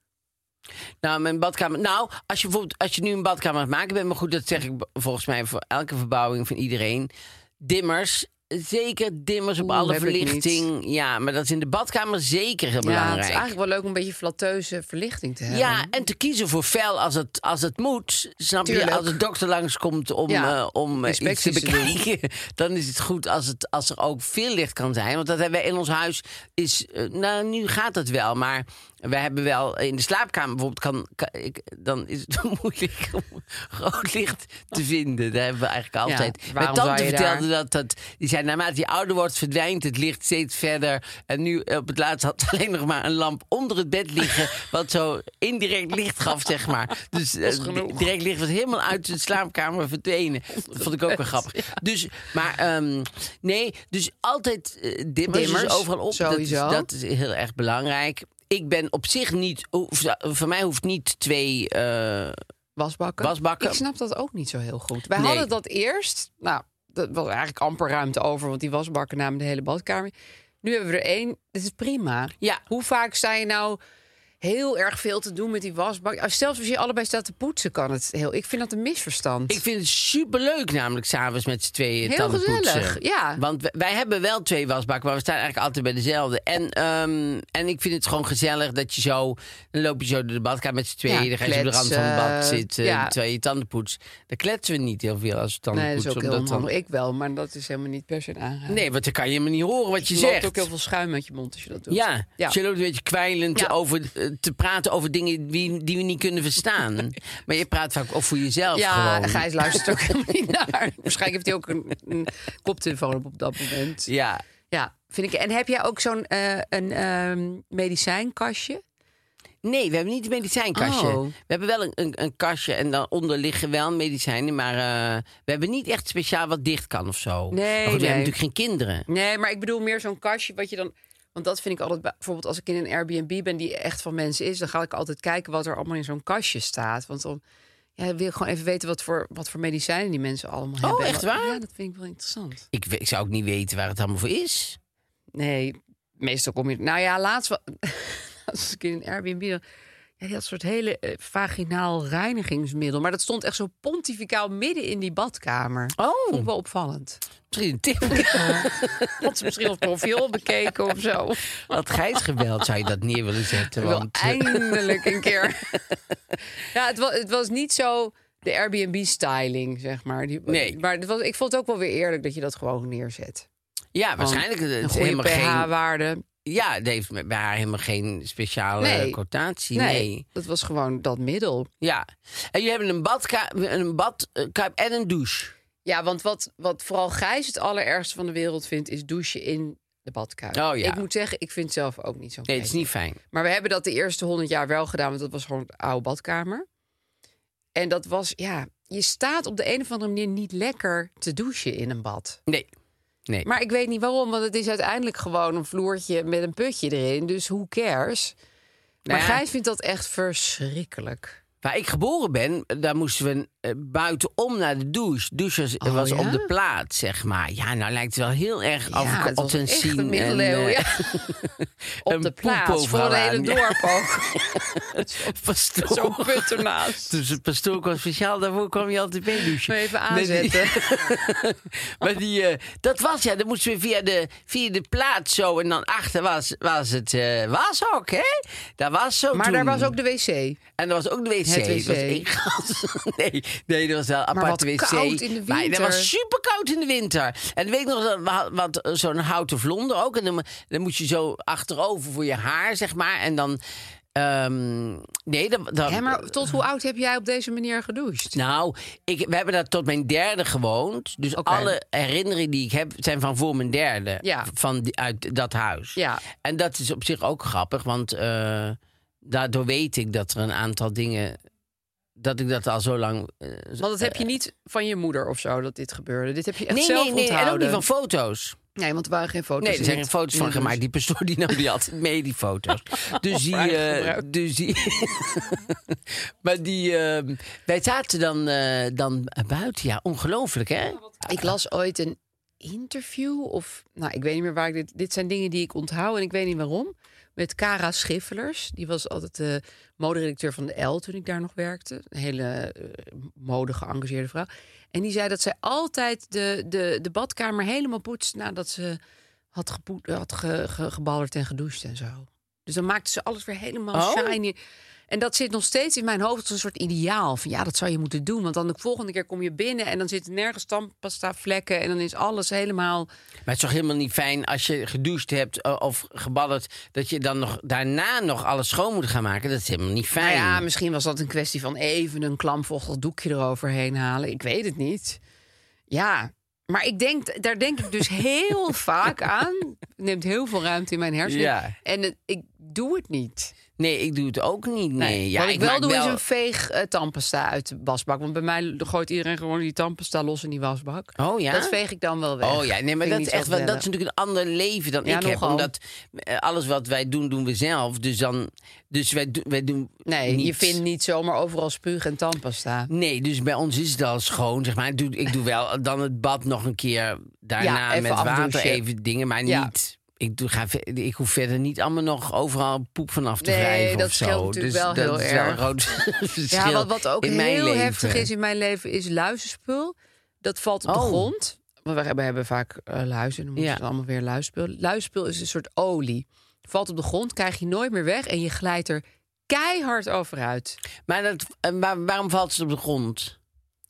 A: Nou, mijn badkamer. Nou, als je bijvoorbeeld als je nu een badkamer aan het maken bent, maar goed, dat zeg ik b- volgens mij voor elke verbouwing van iedereen. Dimmers. Zeker dimmers op
C: Oeh,
A: alle
C: heb ik niet.
A: verlichting. Ja, maar dat is in de badkamer zeker heel
C: Ja, het
A: belangrijk.
C: is eigenlijk wel leuk om een beetje flatteuze verlichting te hebben.
A: Ja, en te kiezen voor fel als het, als het moet. Snap je?
C: Tuurlijk.
A: Als de dokter langskomt om,
C: Ja,
A: eh, om eh, iets te
C: inspecties te doen.
A: bekijken, dan is het goed als, het, als er ook veel licht kan zijn. Want dat hebben we in ons huis. Is, eh, nou, nu gaat het wel, maar We hebben wel in de slaapkamer bijvoorbeeld, kan, kan- ik, dan is het moeilijk om rood licht te vinden. Daar hebben we eigenlijk
C: Ja,
A: altijd. Mijn
C: waarom zou
A: tante
C: je
A: vertelde dat, dat. Die zei, naarmate je ouder wordt, verdwijnt het licht steeds verder. En nu eh, op het laatst had ze alleen nog maar een lamp onder het bed liggen. wat zo indirect licht gaf, zeg maar. Dus eh,
C: genoeg.
A: direct licht was helemaal uit de slaapkamer verdwenen. Dat vond ik ook wel grappig. Dus, maar ehm, nee, dus altijd eh, dimmers, dus
C: Dimmers,
A: overal op. Dat is,
C: sowieso.
A: dat dat is heel erg belangrijk. Ik ben op zich niet, hoef- voor mij hoeft niet twee. eh,
C: Wasbakken.
A: Wasbakken.
C: Ik snap dat ook niet zo heel goed. Wij
A: Nee.
C: hadden dat eerst. Nou, dat was eigenlijk amper ruimte over, want die wasbakken namen de hele badkamer. in. Nu hebben we er één. Dit is prima.
A: ja,
C: Hoe vaak sta je nou heel erg veel te doen met die wasbak? Als- Zelfs als je allebei staat te poetsen, kan het heel. Ik vind dat een misverstand.
A: ik vind het superleuk, namelijk s'avonds met z'n tweeën
C: Heel
A: tanden
C: gezellig,
A: poetsen.
C: ja.
A: Want w- wij hebben wel twee wasbakken, maar we staan eigenlijk altijd bij dezelfde. En, ehm, en ik vind het gewoon gezellig dat je zo... Dan loop je zo door de badkamer met z'n tweeën.
C: Ja,
A: dan ga je zo op de rand van het
C: kletsen,
A: bad zitten
C: ja.
A: terwijl je tanden poetst. Daar kletsen we niet heel veel als we tanden
C: nee, dat is
A: poetsen.
C: ook heel
A: omdat dan-
C: onhandig. Ik wel, maar dat is helemaal niet per se een aanrader.
A: Nee, want dan kan je helemaal niet horen wat je,
C: je
A: zegt.
C: loopt ook heel veel schuim uit je mond als je dat doet.
A: Ja,
C: Ja.
A: ze loopt een beetje kwijlend
C: Ja.
A: over, eh, te praten over dingen die, die we niet kunnen verstaan. Maar je praat vaak ook voor jezelf
C: Ja,
A: gewoon.
C: Gijs luistert ook helemaal niet naar. Waarschijnlijk heeft hij ook een, een koptelefoon op op dat moment.
A: Ja,
C: Ja, vind ik. En heb jij ook zo'n eh, een, ehm, medicijnkastje?
A: nee, we hebben niet een medicijnkastje.
C: Oh.
A: We hebben wel een, een, een kastje en daaronder liggen wel medicijnen. Maar eh, we hebben niet echt speciaal wat dicht kan of zo.
C: Nee,
A: maar goed, we
C: nee.
A: hebben natuurlijk geen kinderen.
C: Nee, maar ik bedoel meer zo'n kastje wat je dan... Want dat vind ik altijd... bij- Bijvoorbeeld als ik in een Airbnb ben die echt van mensen is... dan ga ik altijd kijken wat er allemaal in zo'n kastje staat. Want dan ja, wil ik gewoon even weten wat voor, wat voor medicijnen die mensen allemaal hebben. En
A: echt
C: wat-
A: waar?
C: Ja, dat vind ik wel interessant.
A: Ik, we- ik zou ook niet weten waar het allemaal voor is.
C: Nee, meestal kom je. Nou ja, laatst wa- als ik in een Airbnb. dan- Ja, die had een soort hele eh, vaginaal reinigingsmiddel. Maar dat stond echt zo pontificaal midden in die badkamer. Vond
A: Oh,
C: ik wel opvallend.
A: misschien een tip.
C: Had ze misschien ons profiel bekeken of zo.
A: Had Gijs gebeld, zou je dat neer willen zetten?
C: Ik wil
A: Want, eh,
C: eindelijk een keer. ja, het was, het was niet zo de Airbnb-styling, zeg maar. Die,
A: Nee.
C: Maar het was, ik vond het ook wel weer eerlijk dat je dat gewoon neerzet.
A: ja, waarschijnlijk. eh,
C: Een
A: Het is
C: goede
A: helemaal geen
C: pH-waarde.
A: Ja, het heeft met- bij haar helemaal geen speciale
C: Nee.
A: quotatie. Nee.
C: Nee, dat was gewoon dat middel.
A: Ja. En jullie hebben een badkuip een badkuip en een douche.
C: Ja, want wat, wat vooral Gijs het allerergste van de wereld vindt, is douchen in de badkuip.
A: Oh ja.
C: Ik moet zeggen, ik vind het zelf ook niet zo.
A: Nee, het is niet fijn.
C: Maar we hebben dat de eerste honderd jaar wel gedaan, want dat was gewoon een oude badkamer. En dat was, ja, je staat op de een of andere manier niet lekker te douchen in een bad.
A: Nee. Nee.
C: Maar ik weet niet waarom, want het is uiteindelijk gewoon een vloertje met een putje erin. Dus who cares? Maar
A: Nou ja.
C: Gijs vindt dat echt verschrikkelijk.
A: Waar ik geboren ben, daar moesten we eh, buitenom naar de douche. Douches eh,
C: Oh,
A: was
C: ja?
A: op de plaat, zeg maar. Ja, nou lijkt het wel heel erg
C: ja,
A: af
C: het was
A: op een
C: echt
A: scene
C: een
A: en,
C: middeleeuwen.
A: eh,
C: ja.
A: een
C: Op de
A: poep
C: plaats, voor
A: overal
C: het hele
A: aan. Ja.
C: dorp ook.
A: pastoor.
C: Zo'n put ernaast.
A: Dus het pastoor kwam speciaal daarvoor kwam je altijd mee douchen.
C: Even
A: Nee, die-
C: aanzetten.
A: Maar die, eh, dat was ja, dan moesten we via de, via de plaat zo. En dan achter was, was het eh, was ook, hè? Daar was zo.
C: Maar
A: toen.
C: daar was ook de wc.
A: En er was ook de wc.
C: Het
A: Het was
C: wc.
A: één gas. Nee, nee, er was wel een aparte
C: wat
A: wc.
C: koud in de
A: Maar dat
C: winter.
A: was super koud in de winter. En weet ik nog, dat we had- want eh, zo'n houten vlonder ook. En dan, dan moest je zo achterover voor je haar, zeg maar. En dan. ehm, nee, dan, dan,
C: Hè, maar tot hoe oud heb jij op deze manier gedoucht?
A: nou, ik, we hebben daar tot mijn derde gewoond. Dus
C: Oké.
A: alle herinneringen die ik heb zijn van voor mijn derde.
C: Ja.
A: Van die- uit dat huis.
C: Ja.
A: En dat is op zich ook grappig, want eh, daardoor weet ik dat er een aantal dingen. dat ik dat al zo lang. eh, zo-
C: Want dat heb je niet van je moeder of zo, dat dit gebeurde. Dit heb je echt
A: nee,
C: zelf
A: nee, nee. En ook
C: onthouden.
A: niet van foto's.
C: Nee, want er waren geen foto's.
A: Nee, er zijn
C: in
A: geen
C: het-
A: foto's
C: in
A: van
C: het
A: gemaakt.
C: douche.
A: Die pastoor die nam die altijd mee, die foto's. Dus die... eh,
C: gebruikt.
A: dus die maar die... eh, wij zaten dan, eh, dan buiten. Ja, ongelooflijk, hè?
C: Ik las ooit een interview of... Nou, ik weet niet meer waar ik dit... Dit zijn dingen die ik onthoud en ik weet niet waarom. Met Cara Schiffelers. Die was altijd de moderedacteur van de L toen ik daar nog werkte. Een hele eh, mode geëngageerde vrouw. En die zei dat zij altijd de, de, de badkamer helemaal poetst... nadat ze had, gepoet, had ge- ge- geballerd en gedoucht en zo. Dus Dus dan maakten ze alles weer helemaal
A: Oh.
C: shiny. En dat zit nog steeds in mijn hoofd als een soort ideaal. Van ja, dat zou je moeten doen. Want dan de volgende keer kom je binnen en dan zitten nergens tandpasta vlekken. En dan is alles helemaal...
A: Maar het is toch helemaal niet fijn als je gedoucht hebt eh, of gebadderd... dat je dan nog daarna nog alles schoon moet gaan maken. Dat is helemaal niet
C: Nou
A: fijn.
C: ja, misschien was dat een kwestie van even een klamvochtig doekje eroverheen halen. Ik weet het niet. Ja, maar ik denk, daar denk ik dus heel vaak aan. Het neemt heel veel ruimte in mijn hersenen.
A: Ja.
C: En het- ik doe het niet.
A: Nee, ik doe het ook niet. Nee. Ja,
C: Wat ik, wel
A: maak
C: doe is een veeg eh, tandpasta uit de wasbak. Want bij mij gooit iedereen gewoon die tandpasta los in die wasbak.
A: Oh ja?
C: Dat veeg ik dan wel weg.
A: Oh ja, nee, maar
C: Vind ik
A: dat
C: niet
A: is,
C: zo
A: echt wel, dat
C: vervelend.
A: is natuurlijk een ander leven dan
C: Ja,
A: ik heb.
C: nogal.
A: Omdat eh, alles wat wij doen, doen we zelf. Dus, dan, dus wij, do- wij doen
C: Nee, je
A: niets.
C: vindt niet zomaar overal spuug en tandpasta.
A: Nee, dus bij ons is het al schoon, zeg maar. Ik doe, ik doe wel dan het bad nog een keer daarna
C: Ja, even
A: met water
C: afdouchen.
A: even dingen, maar
C: Ja.
A: niet... Ik, doe, ga, ver- ik hoef verder niet allemaal nog overal poep vanaf te
C: Nee,
A: wrijven
C: dat
A: of zo.
C: scheelt natuurlijk
A: dus
C: wel
A: dat
C: heel
A: is wel een
C: erg.
A: groot verschil
C: Ja, wat, wat ook
A: in mijn
C: heel
A: leven.
C: heftig is in mijn leven is luizenspul. Dat valt op de
A: Oh.
C: grond. Want we hebben, hebben vaak eh, luizen, dan moeten
A: Ja.
C: ze allemaal weer luizenspul. Luizenspul is een soort olie. Valt op de grond, krijg je nooit meer weg en je glijdt er keihard over uit.
A: Maar dat, eh, waar- waarom valt ze op de grond?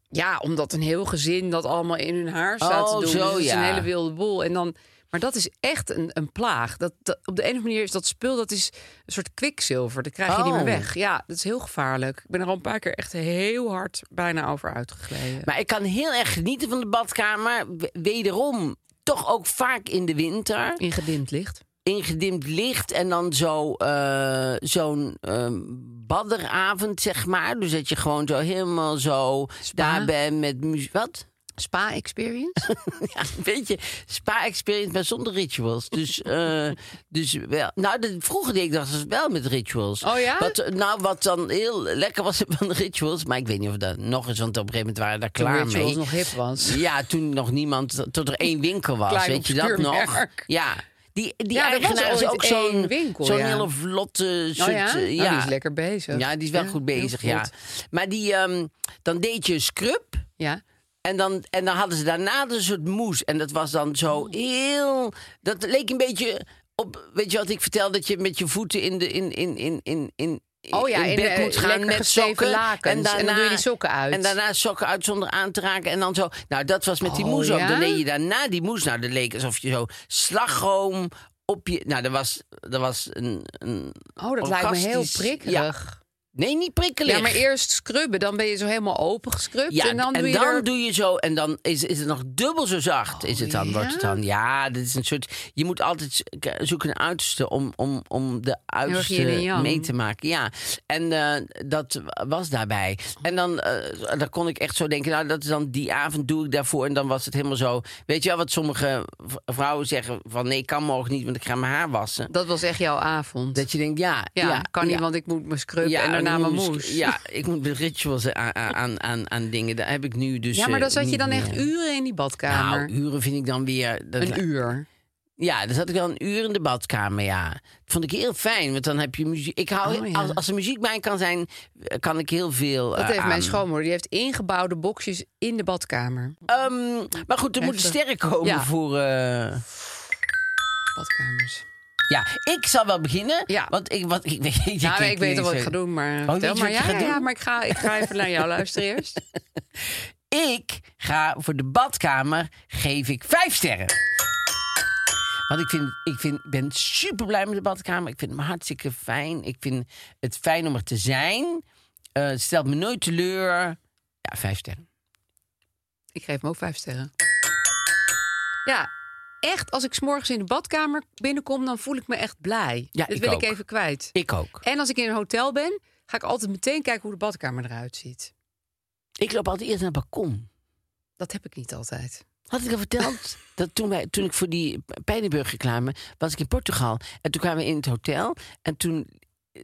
C: Ja, omdat een heel gezin dat allemaal in hun haar staat
A: Oh,
C: te doen.
A: zo,
C: Dus dat is
A: ja.
C: een hele wilde boel. En dan, maar dat is echt een, een plaag. Dat, dat- op de ene manier is dat spul dat is een soort kwikzilver. Dat krijg je niet meer
A: Oh.
C: weg. Ja, dat is heel gevaarlijk. Ik ben er al een paar keer echt heel hard bijna over uitgegleden.
A: Maar ik kan heel erg genieten van de badkamer. W- Wederom, toch ook vaak in de winter.
C: In gedimd licht.
A: Ingedimd licht en dan zo, eh, zo'n ehm, badderavond, zeg maar. Dus dat je gewoon zo helemaal zo daar bent met muziek. Wat?
C: Spa-experience?
A: Ja, een beetje spa-experience, maar zonder rituals. Dus, eh, dus wel. Nou, dat- vroeger deed ik dat dus wel met rituals.
C: Oh ja?
A: Wat, eh, nou, wat dan heel lekker was van de rituals. Maar ik weet niet of dat nog eens, want op een gegeven moment waren we daar klaar
C: Toen Rituals
A: mee.
C: nog hip was.
A: Ja, toen nog niemand, tot er één winkel was.
C: Klein
A: weet je dat
C: obscuur
A: nog?
C: merk.
A: Ja. Die, die
C: Ja, er was
A: eigenaar is
C: ooit
A: ook
C: één
A: zo'n
C: winkel,
A: zo'n
C: ja.
A: hele vlotte soort...
C: Oh ja?
A: eh,
C: Nou, die is lekker bezig.
A: Ja, die is wel goed
C: heel
A: bezig, ja.
C: vlot.
A: Maar die, ehm, dan deed je scrub...
C: Ja.
A: En dan, en dan hadden ze daarna dus een soort moes. En dat was dan zo
C: Oh.
A: heel... Dat leek een beetje op... Weet je wat ik vertelde? Dat je met je voeten in de... In, in, in, in, in
C: Oh ja, in,
A: bed
C: eh,
A: moet gaan
C: lekker
A: met
C: gesteven
A: sokken.
C: lakens. En dan doe je die sokken uit.
A: En daarna sokken uit zonder aan te raken. En dan zo... Nou, dat was met die
C: Oh,
A: moes ook. Dan
C: ja?
A: deed je daarna die moes. Nou, dat leek alsof je zo slagroom op je... Nou, dat was, dat was een, een...
C: Oh, dat lijkt me heel
A: orgastisch-
C: prikkerig.
A: Nee, niet prikkelig.
C: Ja. maar eerst scrubben. Dan ben je zo helemaal open gescrubt.
A: Ja,
C: en dan doe je er-
A: zo. En dan is, is het nog dubbel zo zacht. is het dan,
C: Oh,
A: wordt het dan. Ja, dit is een soort. Je moet altijd z- k- zoeken naar uiterste om, om, om de
C: yin en
A: uiterste
C: yang.
A: mee te maken. Ja, en eh, dat was daarbij. En dan, eh, dan kon ik echt zo denken, nou, dat is dan die avond doe ik daarvoor. En dan was het helemaal zo. Weet je wel wat sommige v- vrouwen zeggen? Van nee, ik kan morgen niet, want ik ga mijn haar wassen.
C: Dat was echt jouw avond.
A: Dat je denkt, ja,
C: ja, kan niet,
A: ja.
C: want ik moet me scrubben
A: Ja,
C: en daarna
A: dan
C: mijn
A: moet ik-
C: moes.
A: Ja, ik moet de rituals aan, aan, aan, aan dingen. Daar heb ik nu dus.
C: Ja, maar
A: eh,
C: dan zat je
A: niet
C: dan echt
A: meer.
C: uren in die badkamer.
A: Nou, uren vind ik dan weer. dat-
C: een uur.
A: Ja, dan zat ik wel een uur in de badkamer, ja. Dat vond ik heel fijn, want dan heb je muziek. Ik hou,
C: Oh, ja.
A: als, als er muziek bij kan zijn, eh, kan ik heel veel.
C: Dat
A: eh,
C: heeft mijn
A: aan.
C: schoonmoeder. Die heeft ingebouwde boxjes in de badkamer.
A: Ehm, maar goed, er moeten
C: Heftig.
A: sterren komen
C: Ja.
A: voor. eh,
C: Badkamers.
A: Ja, ik zal wel beginnen.
C: Ja.
A: Want ik, wat, ik, weet, je
C: Ja,
A: kijkt
C: Nou, ik weet al
A: ineens
C: wat ik
A: zo-
C: ga doen, maar
A: Oh, weet je
C: vertel
A: wat
C: maar.
A: je
C: Ja,
A: gaat
C: ja, ja,
A: doen?
C: maar ik ga, ik ga even naar jou luisteren eerst.
A: Ik ga voor de badkamer, geef ik vijf sterren. Want ik, vind, ik, vind, ik ben super blij met de badkamer. Ik vind hem hartstikke fijn. Ik vind het fijn om er te zijn. Eh, het stelt me nooit teleur. Ja, vijf sterren.
C: Ik geef hem ook vijf sterren. Ja, echt, als ik 's morgens in de badkamer binnenkom, dan voel ik me echt blij.
A: Ja,
C: Dat
A: ik
C: wil
A: ook.
C: ik even kwijt.
A: Ik ook.
C: En als ik in een hotel ben, ga ik altijd meteen kijken hoe de badkamer eruit ziet.
A: Ik loop altijd eerst naar het balkon.
C: Dat heb ik niet altijd.
A: Had ik al verteld dat toen, wij, toen ik voor die Pijnenburg reclame was ik in Portugal. En toen kwamen we in het hotel. En toen,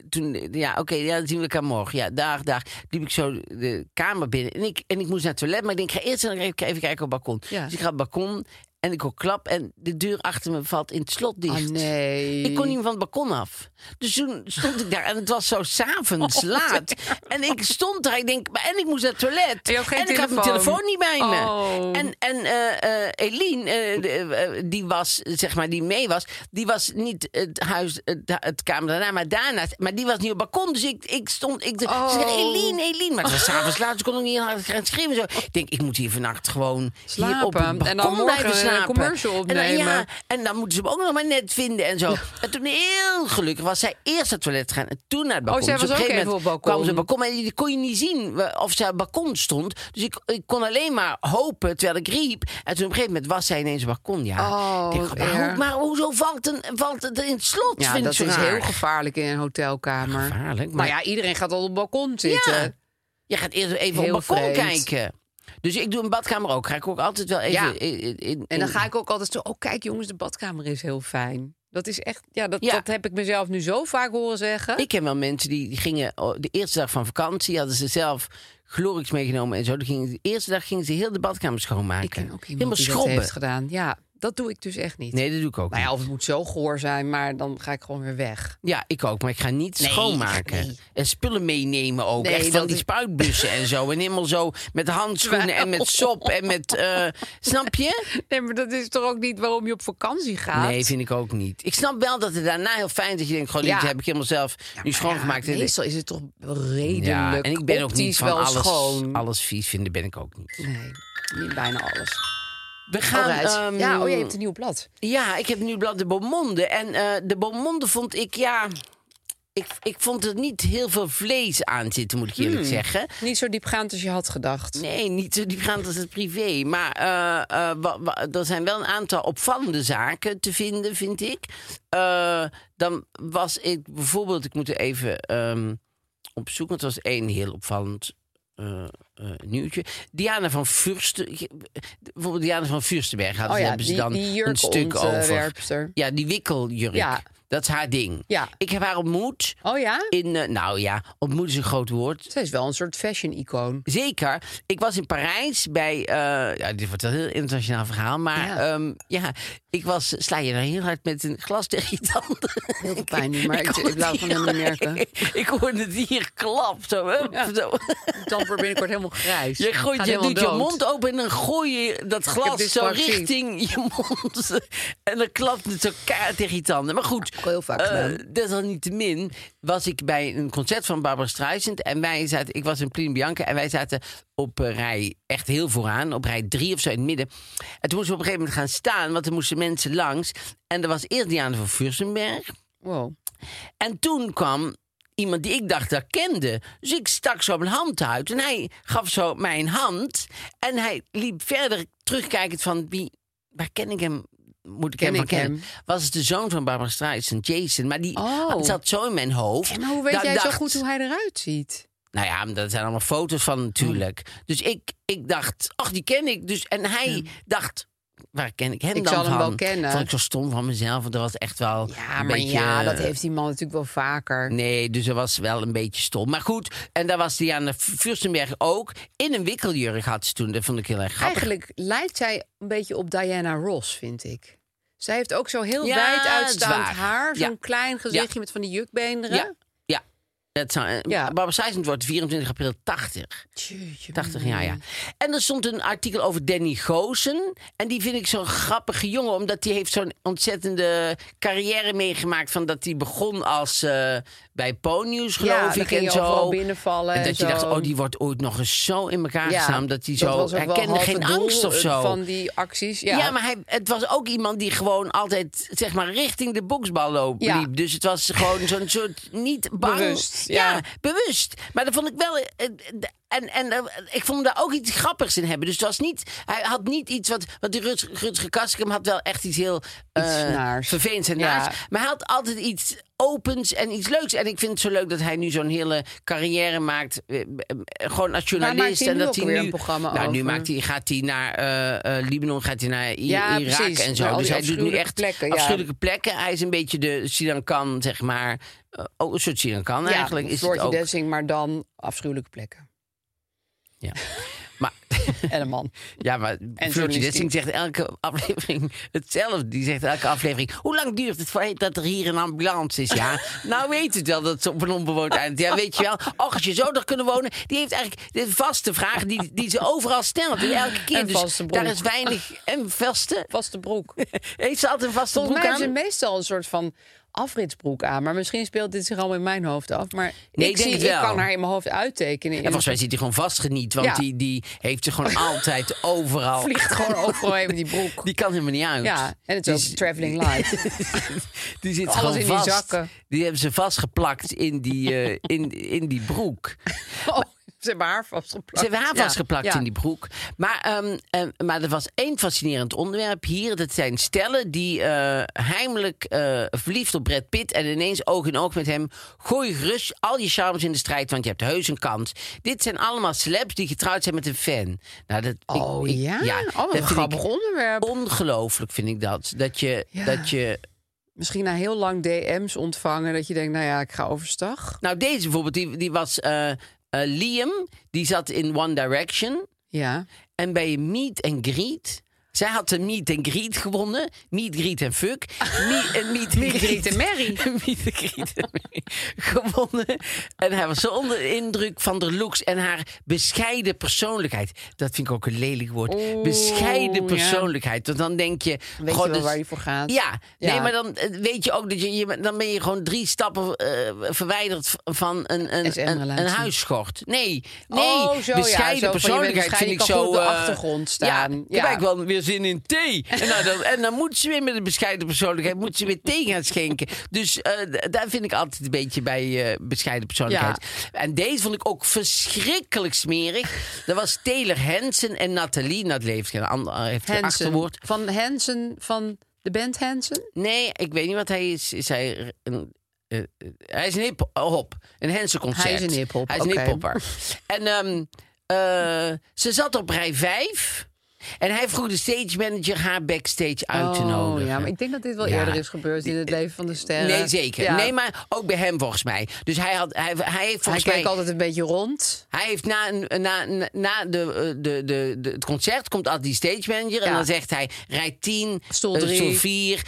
A: toen ja, oké, ja, dan zien we elkaar morgen. Ja, dag, dag. Liep ik zo de kamer binnen. En ik, en ik moest naar het toilet. Maar ik denk, ik ga eerst even kijken op het balkon.
C: Ja.
A: Dus ik ga op het balkon. En ik hoor klap en de deur achter me valt in het slot dicht.
C: Ah, nee.
A: Ik kon niet meer van het balkon af. Dus toen stond ik daar en het was zo
C: Oh,
A: s'avonds laat. En ik stond daar, ik denk, maar- en ik moest naar het toilet.
C: En je had geen
A: en ik had mijn
C: telefoon.
A: telefoon niet bij me.
C: Oh.
A: En, en eh, eh, Eline, eh, de- eh, die was, zeg maar, die mee was, die was niet het huis, het, het kamer daarna, maar daarnaast. Maar die was niet op het balkon, dus ik, ik stond, ik
C: Oh.
A: ze zei, Eline, Eline. Maar het was s'avonds laat, dus ik kon nog niet hard gaan schreeuwen. en Zo. Ik denk, ik moet hier vannacht gewoon hier op het
C: Slapen.
A: balkon
C: En dan morgen
A: blijven
C: een
A: slapen.
C: commercial
A: En dan, ja,
C: opnemen.
A: en dan moeten ze hem ook nog maar net vinden en zo. En toen heel gelukkig was zij eerst naar het toilet gegaan en toen naar het balkon.
C: Oh, zij
A: Dus op
C: was
A: een
C: ook
A: gegeven
C: even
A: moment
C: op het balkon.
A: kwam ze op het balkon. Maar die kon je niet zien wa- of zij op het balkon stond. Dus ik, ik kon alleen maar hopen terwijl ik riep. En toen op een gegeven moment was zij ineens op het balkon. Ja.
C: Oh,
A: Ik denk, maar,
C: erg.
A: hoe- maar hoezo valt, een, valt het in het slot?
C: Ja,
A: vind
C: dat
A: ik zo
C: is
A: raar.
C: heel gevaarlijk in een hotelkamer.
A: Gevaarlijk, maar-
C: Maar ja, iedereen gaat al op het balkon zitten.
A: Ja. Je gaat eerst even
C: Heel
A: op het balkon
C: vreemd.
A: kijken. Dus ik doe een badkamer ook. Ga ik ook altijd wel even...
C: Ja.
A: in- in- in-
C: En dan ga ik ook altijd zo, oh kijk jongens, de badkamer is heel fijn. Dat is echt, ja, dat,
A: Ja.
C: dat heb ik mezelf nu zo vaak horen zeggen.
A: Ik ken wel mensen die die gingen oh, de eerste dag van vakantie, hadden ze zelf glorix meegenomen en zo. Dan gingen, ze- de eerste dag gingen ze heel de badkamer schoonmaken.
C: Ik ken ook iemand
A: Helemaal
C: die
A: schrobben.
C: dat heeft gedaan. Ja, dat doe ik dus echt niet.
A: Nee, dat doe ik ook.
C: Nou ja,
A: niet.
C: of het moet zo goor zijn, maar dan ga ik gewoon weer weg.
A: Ja, ik ook, maar ik ga niet
C: Nee,
A: schoonmaken.
C: nee.
A: En spullen meenemen ook.
C: Nee,
A: Echt van
C: dat
A: die
C: is-
A: spuitbussen en zo. En helemaal zo met handschoenen en met sop en met. eh, snap je?
C: Nee, maar dat is toch ook niet waarom je op vakantie gaat?
A: Nee, vind ik ook niet. Ik snap wel dat het daarna heel fijn is dat je denkt: gewoon,
C: Ja.
A: dit heb ik helemaal zelf nu schoongemaakt.
C: Nou Ja,
A: En-
C: meestal is het toch redelijk
A: ja, en ik ben ook niet
C: optisch
A: van
C: wel
A: alles,
C: schoon.
A: alles vies vinden, ben ik ook niet.
C: Nee, niet bijna alles.
A: We gaan.
C: Alright.
A: ehm,
C: ja, oh, je hebt een nieuw blad.
A: Ja, ik heb nu blad de Beaumonde. En eh, de Beaumonde vond ik, ja... Ik, ik vond er niet heel veel vlees aan zitten, moet ik eerlijk
C: Hmm.
A: zeggen.
C: Niet zo diepgaand als je had gedacht.
A: Nee, niet zo diepgaand als het privé. Maar eh, eh, wa- wa- er zijn wel een aantal opvallende zaken te vinden, vind ik. Eh, dan was ik bijvoorbeeld... Ik moet er even ehm, op zoek, want het was één heel opvallend eh, eh, nieuwtje. Diana van Fursten... Bijvoorbeeld Diana van Furstenberg hadden
C: oh
A: ze-
C: ja,
A: hebben ze
C: die,
A: dan
C: die
A: een stuk over.
C: jurkontwerpster.
A: Ja, die wikkeljurk.
C: Ja.
A: Dat is haar ding.
C: Ja.
A: Ik heb haar ontmoet
C: Oh ja?
A: in... eh, nou ja, ontmoet is een groot woord.
C: Zij is wel een soort fashion-icoon.
A: Zeker. Ik was in Parijs bij... eh, ja, dit wordt wel een heel internationaal verhaal. Maar
C: Ja.
A: ja, ja ik was... Sla je er heel hard met een glas tegen je tanden.
C: Heel veel pijn nu, maar ik,
A: kon
C: ik blijf van
A: het
C: hem niet merken.
A: Ik hoorde het hier klap. Zo, hup, zo.
C: Dan wordt binnenkort helemaal grijs.
A: Je, gooit,
C: Gaat
A: je
C: helemaal
A: doet je
C: dood.
A: mond open en dan gooi je dat
C: heb
A: glas
C: dit
A: zo
C: vaccin.
A: richting je mond. En dan klapt het zo keihard tegen je tanden. Maar goed,
C: Ik heel vaak gedaan.
A: eh, desalniettemin was ik bij een concert van Barbara Streisand. En wij zaten, ik was in Plin Bianca en wij zaten op eh, rij, echt heel vooraan, op rij drie of zo in het midden. En toen moesten we op een gegeven moment gaan staan, want er moesten mensen langs. En er was eerst Diana van Fürstenberg.
C: Wow.
A: En toen kwam iemand die ik dacht dat ik kende. Dus ik stak zo mijn hand uit. En hij gaf zo mijn hand. En hij liep verder terugkijkend van... Wie, waar ken ik hem? Moet ik
C: Ken
A: hem van
C: ik
A: kennen?
C: hem?
A: Was het de zoon van Barbara Streisand, Jason? Maar die
C: Oh.
A: het zat zo in mijn hoofd.
C: Maar hoe weet
A: dat
C: jij
A: ik
C: zo
A: dacht-
C: goed hoe hij eruit ziet?
A: nou ja, dat zijn allemaal foto's van natuurlijk.
C: Hm.
A: Dus ik, ik dacht, ach, die ken ik. Dus, en hij dacht, waar ken ik hem
C: Ik
A: dan
C: zal
A: van?
C: hem wel kennen.
A: Vond ik zo stom van mezelf, want dat was echt wel
C: Ja,
A: een
C: maar
A: beetje...
C: ja, dat heeft die man natuurlijk wel vaker.
A: Nee, dus dat was wel een beetje stom. Maar goed, en daar was Diana Fürstenberg ook. In een wikkeljurk had ze toen. Dat vond ik heel erg grappig.
C: Eigenlijk lijkt zij een beetje op Diana Ross, vind ik. Zij heeft ook zo heel
A: Ja,
C: wijd
A: dat
C: uitstaand
A: is waar.
C: haar. Zo'n
A: Ja.
C: klein gezichtje met van die jukbeenderen.
A: Ja. ja. Dat zou, eh,
C: Ja.
A: Barbara Streisand wordt 24 april 80.
C: Tjeetje,
A: 80 jaar,
C: Mm.
A: ja. En er stond een artikel over Danny Goosen. En die vind ik zo'n grappige jongen, omdat die heeft zo'n ontzettende carrière meegemaakt. Van dat hij begon als eh, bij Ponyus, geloof
C: Ja, dan
A: ik.
C: ging
A: en
C: je
A: zo.
C: overal binnenvallen
A: En dat
C: en
A: je dacht,
C: zo.
A: oh, die wordt ooit nog eens zo in elkaar
C: Ja,
A: gestaan. Dat hij
C: dat
A: zo.
C: was ook
A: hij
C: wel
A: kende
C: half
A: geen
C: het doel,
A: angst of
C: eh,
A: zo.
C: Van die acties. Ja,
A: Ja, maar hij, het was ook iemand die gewoon altijd zeg maar, richting de boksbal loopt,
C: Ja.
A: liep. Dus het was gewoon zo'n soort niet bang.
C: Bewust, ja.
A: bewust. Maar dat vond ik wel. eh, eh, d- En, en eh, ik vond hem daar ook iets grappigs in hebben. Dus het was niet. Hij had niet iets wat. Want die Rut- Rutger Kastrikum had wel echt iets heel. eh,
C: naars.
A: Vervelends en
C: Ja.
A: naars. Maar hij had altijd iets opens en iets leuks. En ik vind het zo leuk dat hij nu zo'n hele carrière maakt. eh, eh, Gewoon als journalist.
C: maakt hij
A: Nou, en
C: nu
A: dat
C: ook
A: hij
C: weer
A: nu,
C: een programma
A: Nou, nu
C: over?
A: maakt hij, gaat hij naar eh, eh, Libanon, gaat hij naar I-
C: Ja,
A: Irak
C: precies.
A: en zo.
C: Naar al
A: dus
C: die
A: hij doet nu
C: afschuwelijke
A: echt
C: plekken, ja.
A: afschuwelijke plekken. Hij is een beetje de Sinan Khan, zeg maar. Eh, ook een soort Sinan Khan
C: Ja,
A: eigenlijk. Is het
C: Floortje
A: ook.
C: Dessing, maar dan afschuwelijke plekken.
A: Ja. Maar,
C: En een man.
A: ja, maar Floortje
C: journalistiek.
A: Dessing zegt elke aflevering hetzelfde. Die zegt elke aflevering... Hoe lang duurt het voordat dat er hier een ambulance is, ja? nou weet het wel dat ze op een onbewoond eiland... Ja, weet je wel. Och, als je zo nog kunnen wonen... Die heeft eigenlijk de vaste vraag die, die ze overal stelt. Die elke keer.
C: En
A: dus
C: vaste bron.
A: daar is weinig... En vaste...
C: Vaste broek.
A: Heeft ze altijd een vaste
C: Volgens
A: broek
C: mij
A: aan?
C: hebben ze meestal een soort van afritsbroek aan. Maar misschien speelt dit zich allemaal in mijn hoofd af. Maar
A: Nee, ik denk
C: ik, zie,
A: het wel.
C: ik kan haar in mijn hoofd uittekenen.
A: Ja, volgens mij zit hij gewoon vastgeniet. Want
C: Ja.
A: die, die heeft ze gewoon altijd overal.
C: vliegt gewoon overal heen met die broek.
A: Die kan helemaal niet uit.
C: Ja, en het
A: Die
C: is
A: z-
C: ook traveling light.
A: Die zit
C: Alles
A: gewoon
C: in die
A: vast.
C: zakken.
A: Die hebben ze vastgeplakt in die, eh, in, in die broek.
C: Oh, ze hebben haar vastgeplakt.
A: Ze hebben haar
C: Ja,
A: vastgeplakt
C: ja.
A: in die broek. Maar, ehm, ehm, maar er was één fascinerend onderwerp hier. Dat zijn stellen die eh, heimelijk eh, verliefd op Brad Pitt... en ineens oog in oog met hem... gooi gerust al je charmes in de strijd, want je hebt heus een kans. Dit zijn allemaal celebs die getrouwd zijn met een fan. Nou, dat, ik-
C: Oh
A: ik-
C: ja? Oh, wat
A: dat
C: een
A: vind ik
C: grappig onderwerp.
A: Ongelooflijk vind ik dat. Dat je,
C: Ja.
A: dat je
C: Misschien na heel lang DM's ontvangen dat je denkt, nou ja, ik ga overstag.
A: Nou, deze bijvoorbeeld, die, die was eh, eh, Liam, die zat in One Direction.
C: Ja.
A: En bij een meet and greet, zij had een meet and greet gewonnen. Meet, greet en fuck. eh, Meet, en meet, and
C: Meet, greet en marry.
A: meet and greet en marry gewonnen. En hij was zo onder de indruk van de looks en haar bescheiden persoonlijkheid. Dat vind ik ook een lelijk woord. bescheiden
C: ja.
A: persoonlijkheid. Want dan denk je...
C: Weet
A: god,
C: je wel
A: dat is-
C: waar je voor gaat?
A: dus- ja,
C: Ja.
A: nee, maar dan eh, weet je ook dat je, je- dan ben je gewoon drie stappen eh, verwijderd v- van een, een, een,
C: SM-relatie.
A: een huisschort. Nee, nee,
C: Oh, zo, ja,
A: bescheiden
C: zo van, je
A: persoonlijkheid
C: bent
A: vind ik
C: bescheiden, je kan
A: zo.
C: goed op de
A: eh,
C: achtergrond
A: Ja,
C: staan.
A: ik
C: Ja.
A: heb eigenlijk wel weer zin in thee. En, nou, dan, en dan moet ze weer met een bescheiden persoonlijkheid, moet ze weer thee gaan schenken. Dus eh, d- daar vind ik altijd een beetje bij eh, bescheiden persoonlijkheid. En deze vond ik ook verschrikkelijk smerig. Dat was Taylor Hansen en Nathalie. Nou, het heeft geen ander, heeft geen
C: Hansen.
A: achterwoord.
C: Van Hansen, van de band Hansen?
A: Nee, ik weet niet wat hij is. Is hij r- een... eh, eh, hij is een hip-hop. Een Hensen-concert.
C: Hij is een hiphop,
A: Hij is
C: oké.
A: een hiphopper. en ehm, eh, ze zat op rij 5. En hij vroeg de stage manager haar backstage uit te
C: Oh,
A: nodigen.
C: ja, maar ik denk dat dit wel
A: Ja.
C: eerder is gebeurd in het leven van de sterren.
A: Nee, zeker.
C: Ja.
A: Nee, maar ook bij hem volgens mij. Dus hij, had, hij, hij heeft
C: Hij
A: volgens
C: keek
A: mij...
C: altijd een beetje rond.
A: Hij heeft na, een- na, na- na de, eh, de, de, de, het concert komt altijd die stage manager. En
C: Ja.
A: dan zegt hij: rij 10,
C: Stoel
A: eh,
C: drie.
A: stoel 4,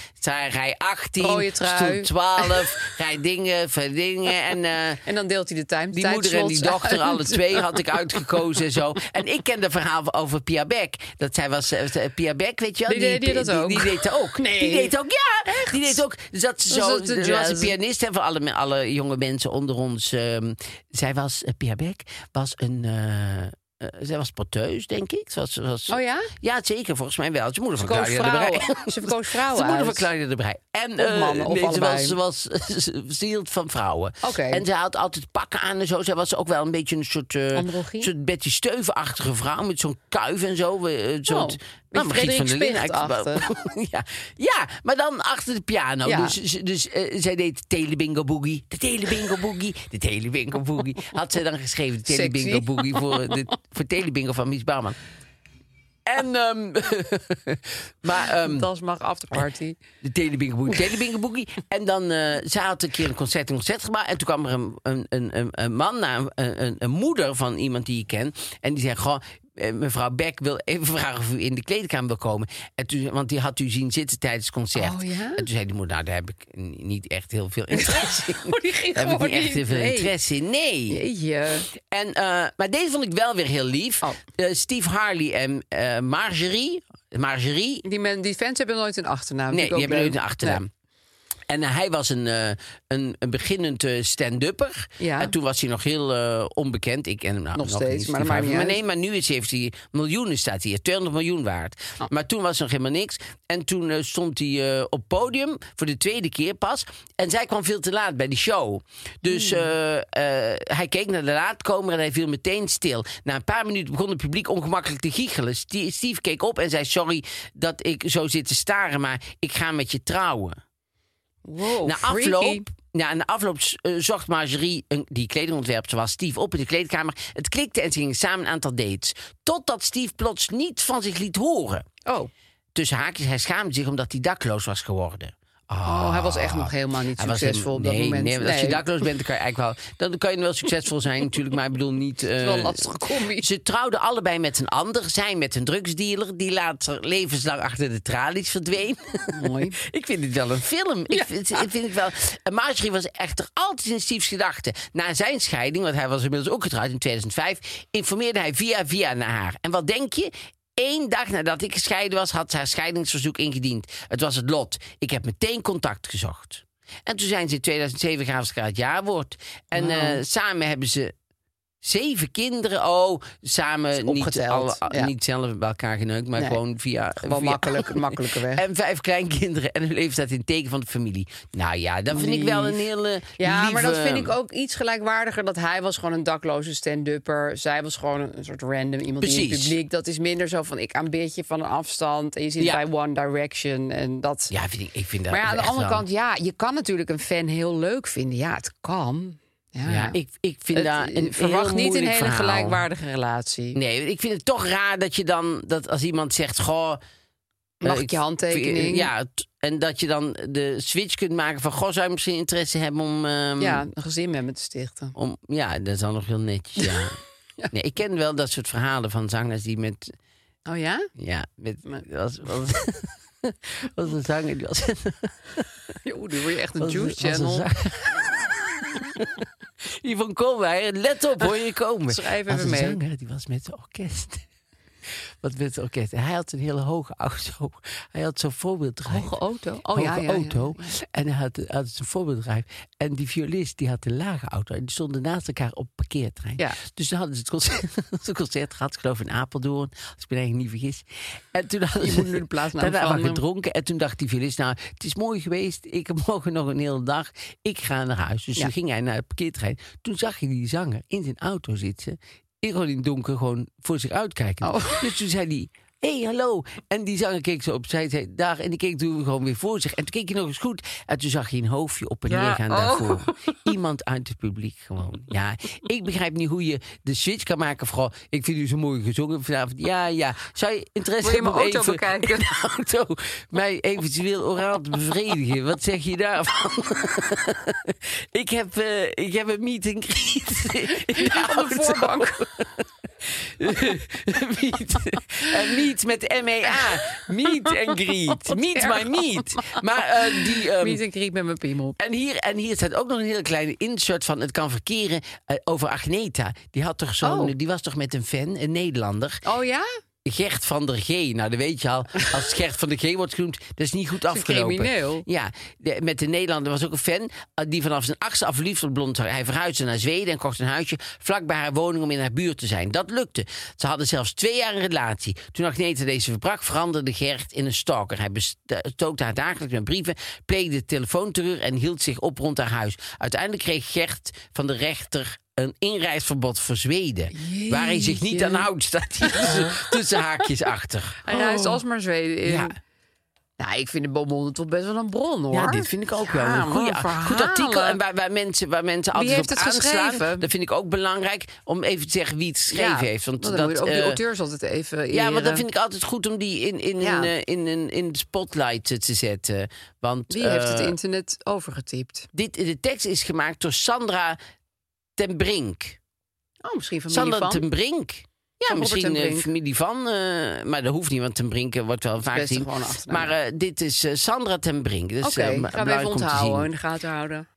A: rij 18,
C: Rode trui.
A: stoel 12, rij dingen, verdingen. En eh,
C: En dan deelt hij de time.
A: die moeder en die
C: tijdslots
A: dochter,
C: uit.
A: alle twee had ik uitgekozen en zo. En ik ken de verhaal over Pia Beck. Dat zij was eh, eh, Pia Beck, weet je wel?
C: Die deed- die dat ook?
A: Die, deed dat ook.
C: Nee.
A: Die deed ook, ja. Die deed ook. Zat ze
C: Was
A: zo,
C: dat eh, de
A: was
C: jazz?
A: een pianist en voor alle, alle jonge mensen onder ons. ehm, zij was eh, Pia Beck was een. eh, eh, zij was porteus, denk ik. Ze was, ze was,
C: Oh ja?
A: Ja, zeker. Volgens mij wel. Ze moeder
C: Ze
A: van
C: koos
A: Claudia de Brij.
C: vrouwen. Ze koos
A: Ze
C: vrouwen
A: moeder van
C: uit.
A: Claudia de Brij. En
C: Of
A: eh,
C: mannen, of
A: nee, ze was,
C: allebei.
A: ze was ze hield van vrouwen.
C: Oké.
A: En ze had altijd pakken aan en zo. Zij was ook wel een beetje een soort, eh,
C: Androgyne?
A: soort Betty Steuvenachtige vrouw met zo'n kuif en zo. eh, eh, zo'n
C: Oh, beetje
A: Margriet
C: Frederik
A: eigenlijk. ja. ja, maar dan achter de piano.
C: Ja.
A: Dus, ze- dus eh, zij deed Telebingo Boogie, de Telebingo Boogie, de Telebingo Boogie. Had zij dan geschreven, de Telebingo
C: Sexy.
A: Boogie voor, eh, de, voor Telebingo van Mies Bouwman. En, ehm, maar, ehm,
C: Das mag afterparty.
A: de Telebingo Boogie, Telebingo Boogie. En dan, eh ze had een keer een concert, een concert gemaakt. En toen kwam er een, een, een, een- een man naar, een- een, een, een moeder van iemand die ik ken. En die zei, goh, eh, mevrouw Beck wil even vragen of u in de kleedkamer wil komen. En toen, want die had u zien zitten tijdens het concert.
C: Oh, ja?
A: En toen zei die moeder, nou, daar heb ik n- niet echt heel veel interesse in.
C: Oh, die ging
A: Daar heb ik
C: gewoon
A: niet echt heel
C: niet
A: veel
C: mee.
A: interesse in, nee.
C: Jeetje.
A: En, eh, maar deze vond ik wel weer heel lief.
C: Oh.
A: Eh, Steve Harley en eh, Marjorie. Marjorie,
C: Die, men, die fans hebben nooit een achternaam.
A: Nee,
C: Vind
A: die
C: ik ook
A: hebben
C: leuk.
A: nooit een achternaam.
C: Nee.
A: En eh, hij was een, eh, een, een beginnend eh, stand-upper.
C: Ja.
A: En toen was hij nog heel eh, onbekend. Ik ken hem nou
C: Nog
A: nog,
C: steeds,
A: niet,
C: maar dat
A: Steve
C: maakt niet
A: Harvey.
C: uit. Oh.
A: nee, maar nu is, heeft hij miljoenen staat hier. 200 miljoen waard. Maar toen was er nog helemaal niks. En toen eh, stond hij eh, op podium voor de tweede keer pas. En zij kwam veel te laat bij die show. Dus
C: Hmm.
A: eh, eh, hij keek naar de laatkomer en hij viel meteen stil. Na een paar minuten begon het publiek ongemakkelijk te giechelen. Stie- Steve keek op en zei: Sorry dat ik zo zit te staren, maar ik ga met je trouwen.
C: Wow,
A: Na
C: freaky.
A: afloop, ja, na afloop eh, zocht Marjorie, een, die kledingontwerpster was, Steve op in de kleedkamer. Het klikte en ze gingen samen een aantal dates. Totdat Steve plots niet van zich liet horen.
C: Oh,
A: Tussen haakjes, hij schaamde zich omdat hij dakloos was geworden. Ah,
C: Oh, hij was echt nog helemaal niet
A: Hij was
C: succesvol op
A: helemaal-
C: dat
A: nee,
C: moment.
A: Nee, want als je
C: Nee.
A: dakloos bent, dan kan je eigenlijk wel... Dan kan je wel succesvol zijn natuurlijk, maar ik bedoel niet... eh,
C: wel een lastige combi.
A: Ze trouwden allebei met een ander. Zij met een drugsdealer, die later levenslang achter de tralies verdween.
C: Mooi.
A: ik vind dit wel een film. Ik, vind, ik vind het wel... En Marjorie was echter altijd in Steve's gedachten. Na zijn scheiding, want hij was inmiddels ook getrouwd in 2005... informeerde hij via via naar haar. En wat denk je... Eén dag nadat ik gescheiden was, had ze haar scheidingsverzoek ingediend. Het was het lot. Ik heb meteen contact gezocht. En toen zijn ze in 2007 gaven ze elkaar het jaarwoord. En eh, samen hebben ze zeven kinderen. Oh, samen niet, alle,
C: opgeteld, ja.
A: niet zelf bij elkaar geneukt, maar
C: Nee.
A: gewoon via...
C: Gewoon
A: via-
C: makkelijk, makkelijke weg.
A: en vijf kleinkinderen en hun leeftijd in het teken van de familie. Nou ja, dat vind ik wel een
C: Lief.
A: hele
C: Ja, maar dat
A: lieve-
C: vind ik ook iets gelijkwaardiger. Dat hij was gewoon een dakloze stand-upper. Zij was gewoon een, een soort random iemand in het
A: Precies.
C: publiek. Dat is minder zo van ik aanbid je van een afstand. En je ziet
A: Ja.
C: bij One Direction. En dat.
A: Ja, vind ik, ik vind dat
C: maar ja, aan de
A: echt
C: andere
A: wel-
C: kant, ja, je kan natuurlijk een fan heel leuk vinden. Ja, het kan. Ja,
A: Ja, ik, ik vind
C: Het- eh,
A: daar een
C: verwacht
A: heel
C: niet een
A: moeilijk
C: hele
A: verhaal.
C: gelijkwaardige relatie.
A: Nee, ik vind het toch raar dat je dan, dat als iemand zegt, goh... eh,
C: Mag ik je handtekening?
A: Ja, t- en dat je dan de switch kunt maken van, goh, zou je misschien interesse hebben om... ehm,
C: Ja, een gezin met me te stichten.
A: Om, ja, dat is dan nog heel netjes. Ja. Nee, ik ken wel dat soort verhalen van zangers die met.
C: Oh ja?
A: Ja, met. met- Was, was, was een zanger die was.
C: Oeh, nu word je echt een
A: was-
C: juice
A: was een
C: channel.
A: zanger- Die van Kolweijer, let op, hoor je komen.
C: Schrijf
A: was
C: even
A: een
C: mee.
A: zanger die was met het orkest. Wat met het orkest. En hij had een hele hoge auto. Hij had zo'n voorbeeldrijf.
C: Hoge auto. Oh
A: hoge
C: ja, ja, ja.
A: auto. En hij had, had zijn voorbeeldrijf. En die violist die had een lage auto. En die stonden naast elkaar op een parkeerterrein.
C: Ja.
A: Dus toen hadden ze het concert, het concert gehad, ik geloof in Apeldoorn, als ik me eigenlijk niet vergis. En toen hadden
C: Je
A: ze
C: moet nu de plaatsnaam
A: daarna maar
C: veranderen.
A: gedronken. En toen dacht die violist, nou, het is mooi geweest. Ik heb morgen nog een hele dag. Ik ga naar huis. Dus
C: Ja.
A: toen ging hij naar het parkeerterrein. Toen zag je die zanger in zijn auto zitten. in- Gewoon in het donker, gewoon voor zich uitkijken.
C: Oh.
A: Dus toen zei hij... hey, hallo. En die zanger keek zo opzij, zei daar. En die keek toen gewoon weer voor zich. En toen keek hij nog eens goed. En toen zag je een hoofdje op en
C: Ja,
A: neer gaan
C: oh.
A: daarvoor. Iemand uit het publiek gewoon. Ja, ik begrijp niet hoe je de switch kan maken. Vooral, ik vind u zo mooi gezongen vanavond. Ja, ja. Zou je interesse
C: Wil je
A: hebben
C: mijn
A: om
C: auto
A: even
C: bekijken?
A: in de auto mij eventueel oraal te bevredigen? Wat zeg je daarvan? ik, heb, eh, ik heb een meet and greet in de
C: Op de
A: auto.
C: voorbank.
A: meet, Eh, meet met MEA. Meet and greet. Meet my meet. Maar eh, die... ehm,
C: Niet een kriek met mijn piemel.
A: en hier, en hier staat ook nog een hele kleine insert van het kan verkeren eh, over Agneta. Die, had toch zo'n,
C: Oh.
A: die was toch met een fan, een Nederlander.
C: Oh ja?
A: Gert van der G. Nou, dat weet je al. Als Gert van der G wordt genoemd, dat is niet goed
C: is een
A: afgelopen.
C: crimineel.
A: Ja, de- met de Nederlander was ook een fan eh, die vanaf zijn achtste af verliefd op blond haar. Hij verhuisde naar Zweden en kocht een huisje vlak bij haar woning om in haar buurt te zijn. Dat lukte. Ze hadden zelfs twee jaar een relatie. Toen Agneta deze verbrak, veranderde Gert in een stalker. Hij bestookte haar dagelijks met brieven, pleegde telefoonterreur en hield zich op rond haar huis. Uiteindelijk kreeg Gert van de rechter een inreisverbod voor Zweden. Waar hij zich niet aan houdt, staat hier tussen, tussen haakjes achter.
C: Hij reist alsmaar Zweden in.
A: Oh. Ja.
C: Nou, ik vind de Beaumont toch best wel een bron, hoor.
A: Ja, dit vind ik ook wel
C: Ja,
A: een
C: wat
A: goeie-
C: verhalen.
A: goed artikel. En waar, waar mensen, waar mensen altijd
C: heeft
A: op
C: het
A: aanslaan.
C: geschreven?
A: Dat vind ik ook belangrijk om even te zeggen wie het geschreven
C: Ja, Nou,
A: heeft. Want
C: dan
A: dat,
C: moet je ook die
A: eh,
C: auteurs altijd even
A: ja, want
C: eren.
A: dat vind ik altijd goed om die in, in,
C: Ja.
A: een, eh, in, een in de spotlight eh, te zetten. Want
C: Wie heeft het
A: eh,
C: internet overgetypt?
A: dit, de tekst is gemaakt door Sandra ten Brink.
C: Oh, misschien van Millie
A: Sander
C: van.
A: ten Brink. Ja,
C: Robert
A: misschien
C: ten
A: eh,
C: Brink.
A: familie van. eh, maar dat hoeft niet, want ten Brink eh, wordt wel vaak
C: beste
A: gezien.
C: gewoon achternaam.
A: Maar eh, dit is eh, Sandra ten Brink. Dus,
C: Oké,
A: eh,
C: gaan we
A: belangrijk
C: even
A: om te
C: onthouden, in
A: zien.
C: de gaten houden.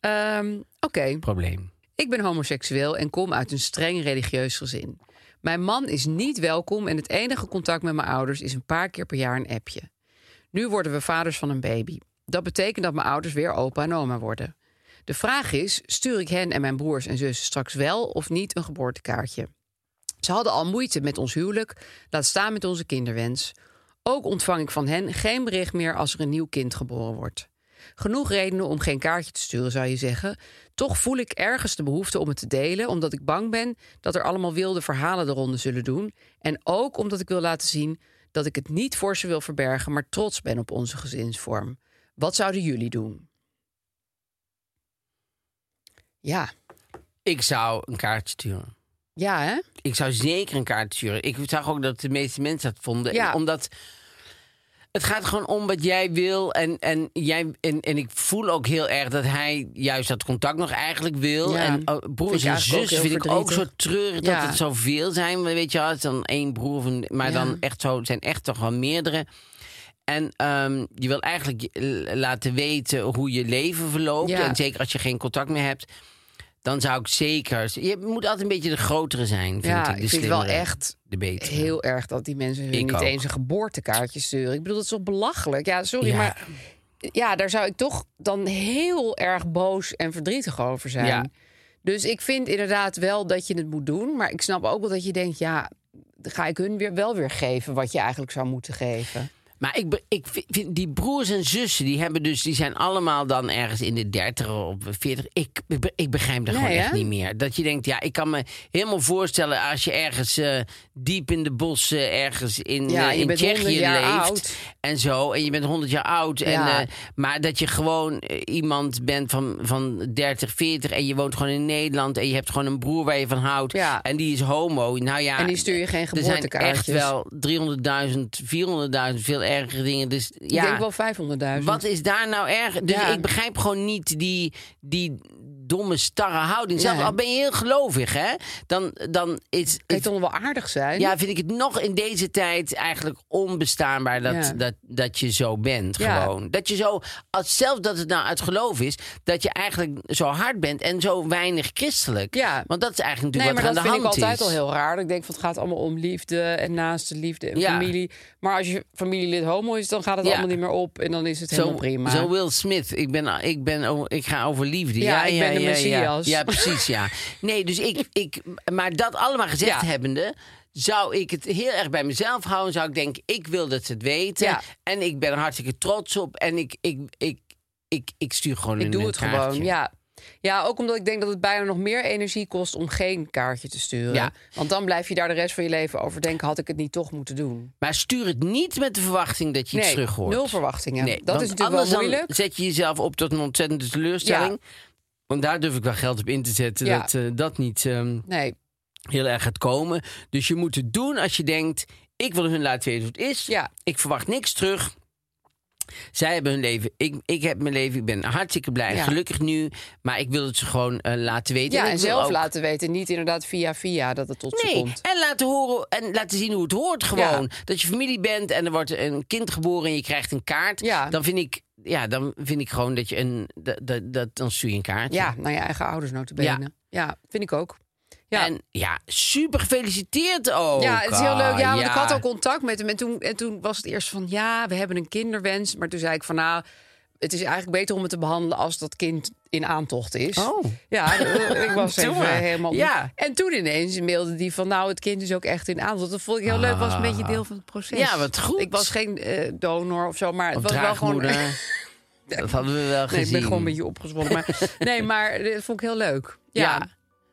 C: Ehm, Oké,
A: Probleem.
C: ik ben homoseksueel en kom uit een streng religieus gezin. Mijn man is niet welkom en het enige contact met mijn ouders is een paar keer per jaar een appje. Nu worden we vaders van een baby. Dat betekent dat mijn ouders weer opa en oma worden. De vraag is, stuur ik hen en mijn broers en zussen straks wel of niet een geboortekaartje? Ze hadden al moeite met ons huwelijk, laat staan met onze kinderwens. Ook ontvang ik van hen geen bericht meer als er een nieuw kind geboren wordt. Genoeg redenen om geen kaartje te sturen, zou je zeggen. Toch voel ik ergens de behoefte om het te delen, omdat ik bang ben dat er allemaal wilde verhalen de ronde zullen doen. En ook omdat ik wil laten zien dat ik het niet voor ze wil verbergen, maar trots ben op onze gezinsvorm. Wat zouden jullie doen? Ja,
A: Ik zou een kaart sturen.
C: ja, hè?
A: Ik zou zeker een kaart sturen. Ik zag ook dat de meeste mensen dat vonden.
C: Ja.
A: En Omdat Het gaat gewoon om wat jij wil. En, en, jij, en, en ik voel ook heel erg dat hij juist dat contact nog eigenlijk wil.
C: Ja.
A: En oh,
C: Vind
A: broers
C: ik
A: en
C: eigenlijk ook
A: zussen
C: heel
A: vind ik ook zo
C: verdrietig.
A: treurig
C: Ja.
A: dat het zoveel zijn. Weet je wel, het is dan één broer. Of een, maar
C: Ja.
A: dan echt zo, het zijn echt toch wel meerdere. En ehm, je wil eigenlijk je- eh, laten weten hoe je leven verloopt.
C: Ja.
A: En zeker als je geen contact meer hebt. Dan zou ik zeker... Je moet altijd een beetje de grotere zijn, vind
C: Ja,
A: ik. De
C: ik vind het
A: slimmere,
C: wel echt
A: de betere.
C: Heel erg dat die mensen hun
A: Ik
C: niet
A: ook.
C: eens een geboortekaartje sturen. Ik bedoel, dat is toch belachelijk? Ja, sorry,
A: Ja.
C: maar ja, daar zou ik toch dan heel erg boos en verdrietig over zijn.
A: Ja.
C: Dus ik vind inderdaad wel dat je het moet doen. Maar ik snap ook wel dat je denkt, ja, ga ik hun weer, wel weer geven wat je eigenlijk zou moeten geven.
A: Maar ik, be- ik vi- vind die broers en zussen, die, hebben dus, die zijn allemaal dan ergens in de 30 of 40. Ik, ik, be- ik begrijp dat
C: Nee,
A: gewoon
C: hè?
A: echt niet meer. Dat je denkt, ja, ik kan me helemaal voorstellen als je ergens eh, diep in de bossen, ergens in,
C: Ja,
A: eh,
C: je
A: in
C: bent 100
A: Tsjechië
C: jaar
A: leeft.
C: oud.
A: En zo, en je bent 100 jaar oud. En,
C: Ja.
A: eh, maar dat je gewoon eh, iemand bent van, van 30, 40 en je woont gewoon in Nederland en je hebt gewoon een broer waar je van houdt.
C: Ja.
A: En die is homo. Nou ja,
C: En die stuur je geen
A: er zijn echt
C: geboortekaartjes.
A: wel 300.000, 400.000, veel ergere dingen. Dus
C: Ik
A: ja,
C: denk wel 500.000.
A: wat is daar nou erg? Dus
C: Ja.
A: ik begrijp gewoon niet die, die domme, starre houding. Zelfs
C: Nee.
A: al ben je heel gelovig, hè? Dan, dan is
C: Kan je toch nog wel aardig zijn?
A: ja, vind ik het nog in deze tijd eigenlijk onbestaanbaar dat,
C: Ja.
A: dat, dat je zo bent.
C: Ja.
A: Gewoon. Dat je zo, als, zelfs dat het nou uit geloof is, dat je eigenlijk zo hard bent en zo weinig christelijk.
C: Ja.
A: Want dat is eigenlijk
C: Nee,
A: natuurlijk wat
C: maar dat
A: er aan de
C: vind
A: hand
C: ik altijd
A: is.
C: al heel raar. Ik denk van het gaat allemaal om liefde en naaste liefde en
A: Ja.
C: familie. Maar als je familielid homo is, dan gaat het
A: Ja.
C: allemaal niet meer op en dan is het helemaal
A: zo,
C: prima.
A: Zo Will Smith. Ik, ben, ik, ben, o- ik ga over liefde.
C: Ja, ik ben de
A: ja,
C: Messias.
A: Ja, Ja, precies, ja. Nee, dus ik, ik... Maar dat allemaal gezegd
C: Ja.
A: hebbende... zou ik het heel erg bij mezelf houden. Zou ik denken, ik wil dat ze het weten.
C: Ja.
A: En ik ben er hartstikke trots op. En ik, ik, ik, ik, ik stuur gewoon een
C: ik doe het
A: kaartje.
C: gewoon. Ja. ja, ook omdat ik denk dat het bijna nog meer energie kost om geen kaartje te sturen.
A: Ja.
C: Want dan blijf je daar de rest van je leven over denken. Had ik het niet toch moeten doen?
A: Maar stuur het niet met de verwachting dat je iets
C: nee,
A: terug hoort.
C: nul verwachtingen.
A: Nee,
C: dat
A: want
C: is natuurlijk wel
A: anders
C: moeilijk.
A: Dan zet je jezelf op tot een ontzettende teleurstelling. Want daar durf ik wel geld op in te zetten.
C: Ja.
A: Dat eh, dat niet... ehm,
C: Nee,
A: heel erg gaat komen. Dus je moet het doen als je denkt: ik wil hun laten weten hoe het is.
C: Ja.
A: Ik verwacht niks terug. Zij hebben hun leven. Ik, ik heb mijn leven. Ik ben hartstikke blij en
C: Ja.
A: gelukkig nu. Maar ik wil het ze gewoon eh, laten weten.
C: ja,
A: ik
C: en
A: wil
C: zelf
A: ook-
C: laten weten. Niet inderdaad via via dat het tot ze
A: Nee,
C: komt.
A: en laten horen en laten zien hoe het hoort gewoon. Dat je familie bent en er wordt een kind geboren en je krijgt een kaart.
C: Ja.
A: Dan vind ik, ja, dan vind ik gewoon dat je een, dat, dat, dat- dan stuur je een kaartje.
C: Ja, naar je eigen ouders notabene. Ja, ja vind ik ook. Ja.
A: En ja, super gefeliciteerd ook. Ah,
C: Ja, het is heel leuk. Ja, want ik
A: Ja.
C: had al contact met hem. En toen, en toen was het eerst van, ja, we hebben een kinderwens. Maar toen zei ik van, nou, het is eigenlijk beter om het te behandelen als dat kind in aantocht is.
A: Oh.
C: Ja, eh, ik was
A: Doe
C: even
A: maar.
C: helemaal...
A: Ja.
C: En toen ineens mailde die van, nou, het kind is ook echt in aantocht. Dat vond ik heel leuk. was een beetje deel van het proces.
A: Ja, wat goed.
C: Ik was geen eh, donor of zo, maar het
A: Of
C: was wel gewoon...
A: draagmoeder. dat hadden we wel gezien.
C: Nee, ik ben gewoon een beetje opgezwollen. Maar, nee, maar eh, dat vond ik heel leuk.
A: Ja.
C: ja.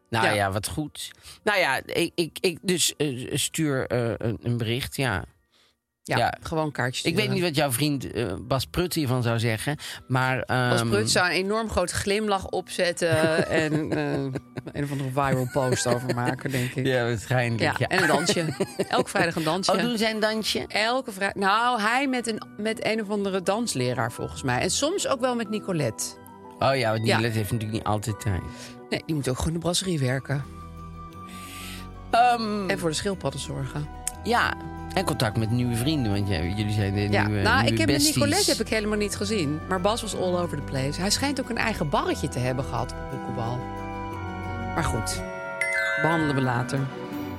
A: Nou ja.
C: Ja.
A: wat goed. Nou ja, ik, ik, ik dus eh, stuur eh, een, een bericht, ja.
C: Ja,
A: Ja.
C: gewoon kaartjes.
A: Ik weet
C: sturen.
A: niet wat jouw vriend eh, Bas Prut hiervan zou zeggen, maar...
C: Als
A: ehm,
C: Prut zou een enorm groot glimlach opzetten en eh, een of andere viral post over maken, denk ik.
A: Ja, waarschijnlijk,
C: Ja,
A: ja.
C: en een dansje. Elke vrijdag een dansje.
A: Oh, doen zij een dansje?
C: Elke vrijdag. Nou, hij met een, met een of andere dansleraar volgens mij. En soms ook wel met Nicolette.
A: Oh ja, want
C: Ja.
A: Nicolette heeft natuurlijk niet altijd tijd.
C: Nee, die moet ook gewoon in de brasserie werken.
A: Ehm,
C: En voor de schildpadden zorgen.
A: ja, en contact met nieuwe vrienden, want jij, jullie zijn de
C: Ja,
A: nieuwe
C: nou,
A: nieuwe
C: ik heb met
A: besties.
C: Nicolette heb ik helemaal niet gezien. Maar Bas was all over the place. Hij schijnt ook een eigen barretje te hebben gehad op Boekenbal. Maar goed, behandelen we later.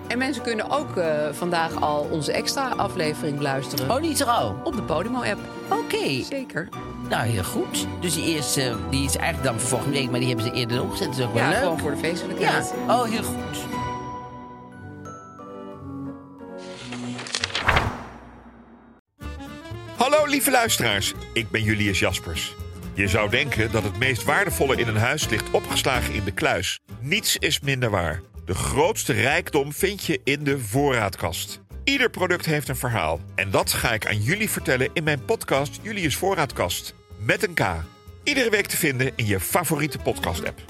C: En mensen kunnen ook eh, vandaag al onze extra aflevering luisteren.
A: Oh, niet zo.
C: Op de Podimo-app.
A: Oké.
C: Zeker.
A: Nou, heel goed. Dus die eerste, die is eigenlijk dan voor volgende week, maar die hebben ze eerder opgezet. Dat is ook wel
C: Ja,
A: leuk.
C: gewoon voor de
A: Ja,
C: feestelijkheid.
A: oh, heel goed.
D: Hallo lieve luisteraars, ik ben Julius Jaspers. Je zou denken dat het meest waardevolle in een huis ligt opgeslagen in de kluis. Niets is minder waar. De grootste rijkdom vind je in de voorraadkast. Ieder product heeft een verhaal. En dat ga ik aan jullie vertellen in mijn podcast Julius Voorraadkast. Met een K. Iedere week te vinden in je favoriete podcast-app.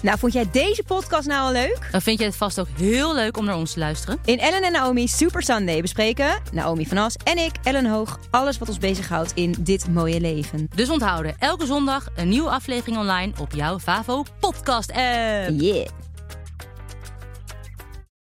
E: Nou, vond jij deze podcast nou al leuk?
F: Dan vind je het vast ook heel leuk om naar ons te luisteren.
E: In Ellen en Naomi Super Sunday bespreken Naomi van As en ik, Ellen Hoog, alles wat ons bezighoudt in dit mooie leven.
F: Dus onthouden, elke zondag een nieuwe aflevering online op jouw Favo podcast app.
E: Yeah.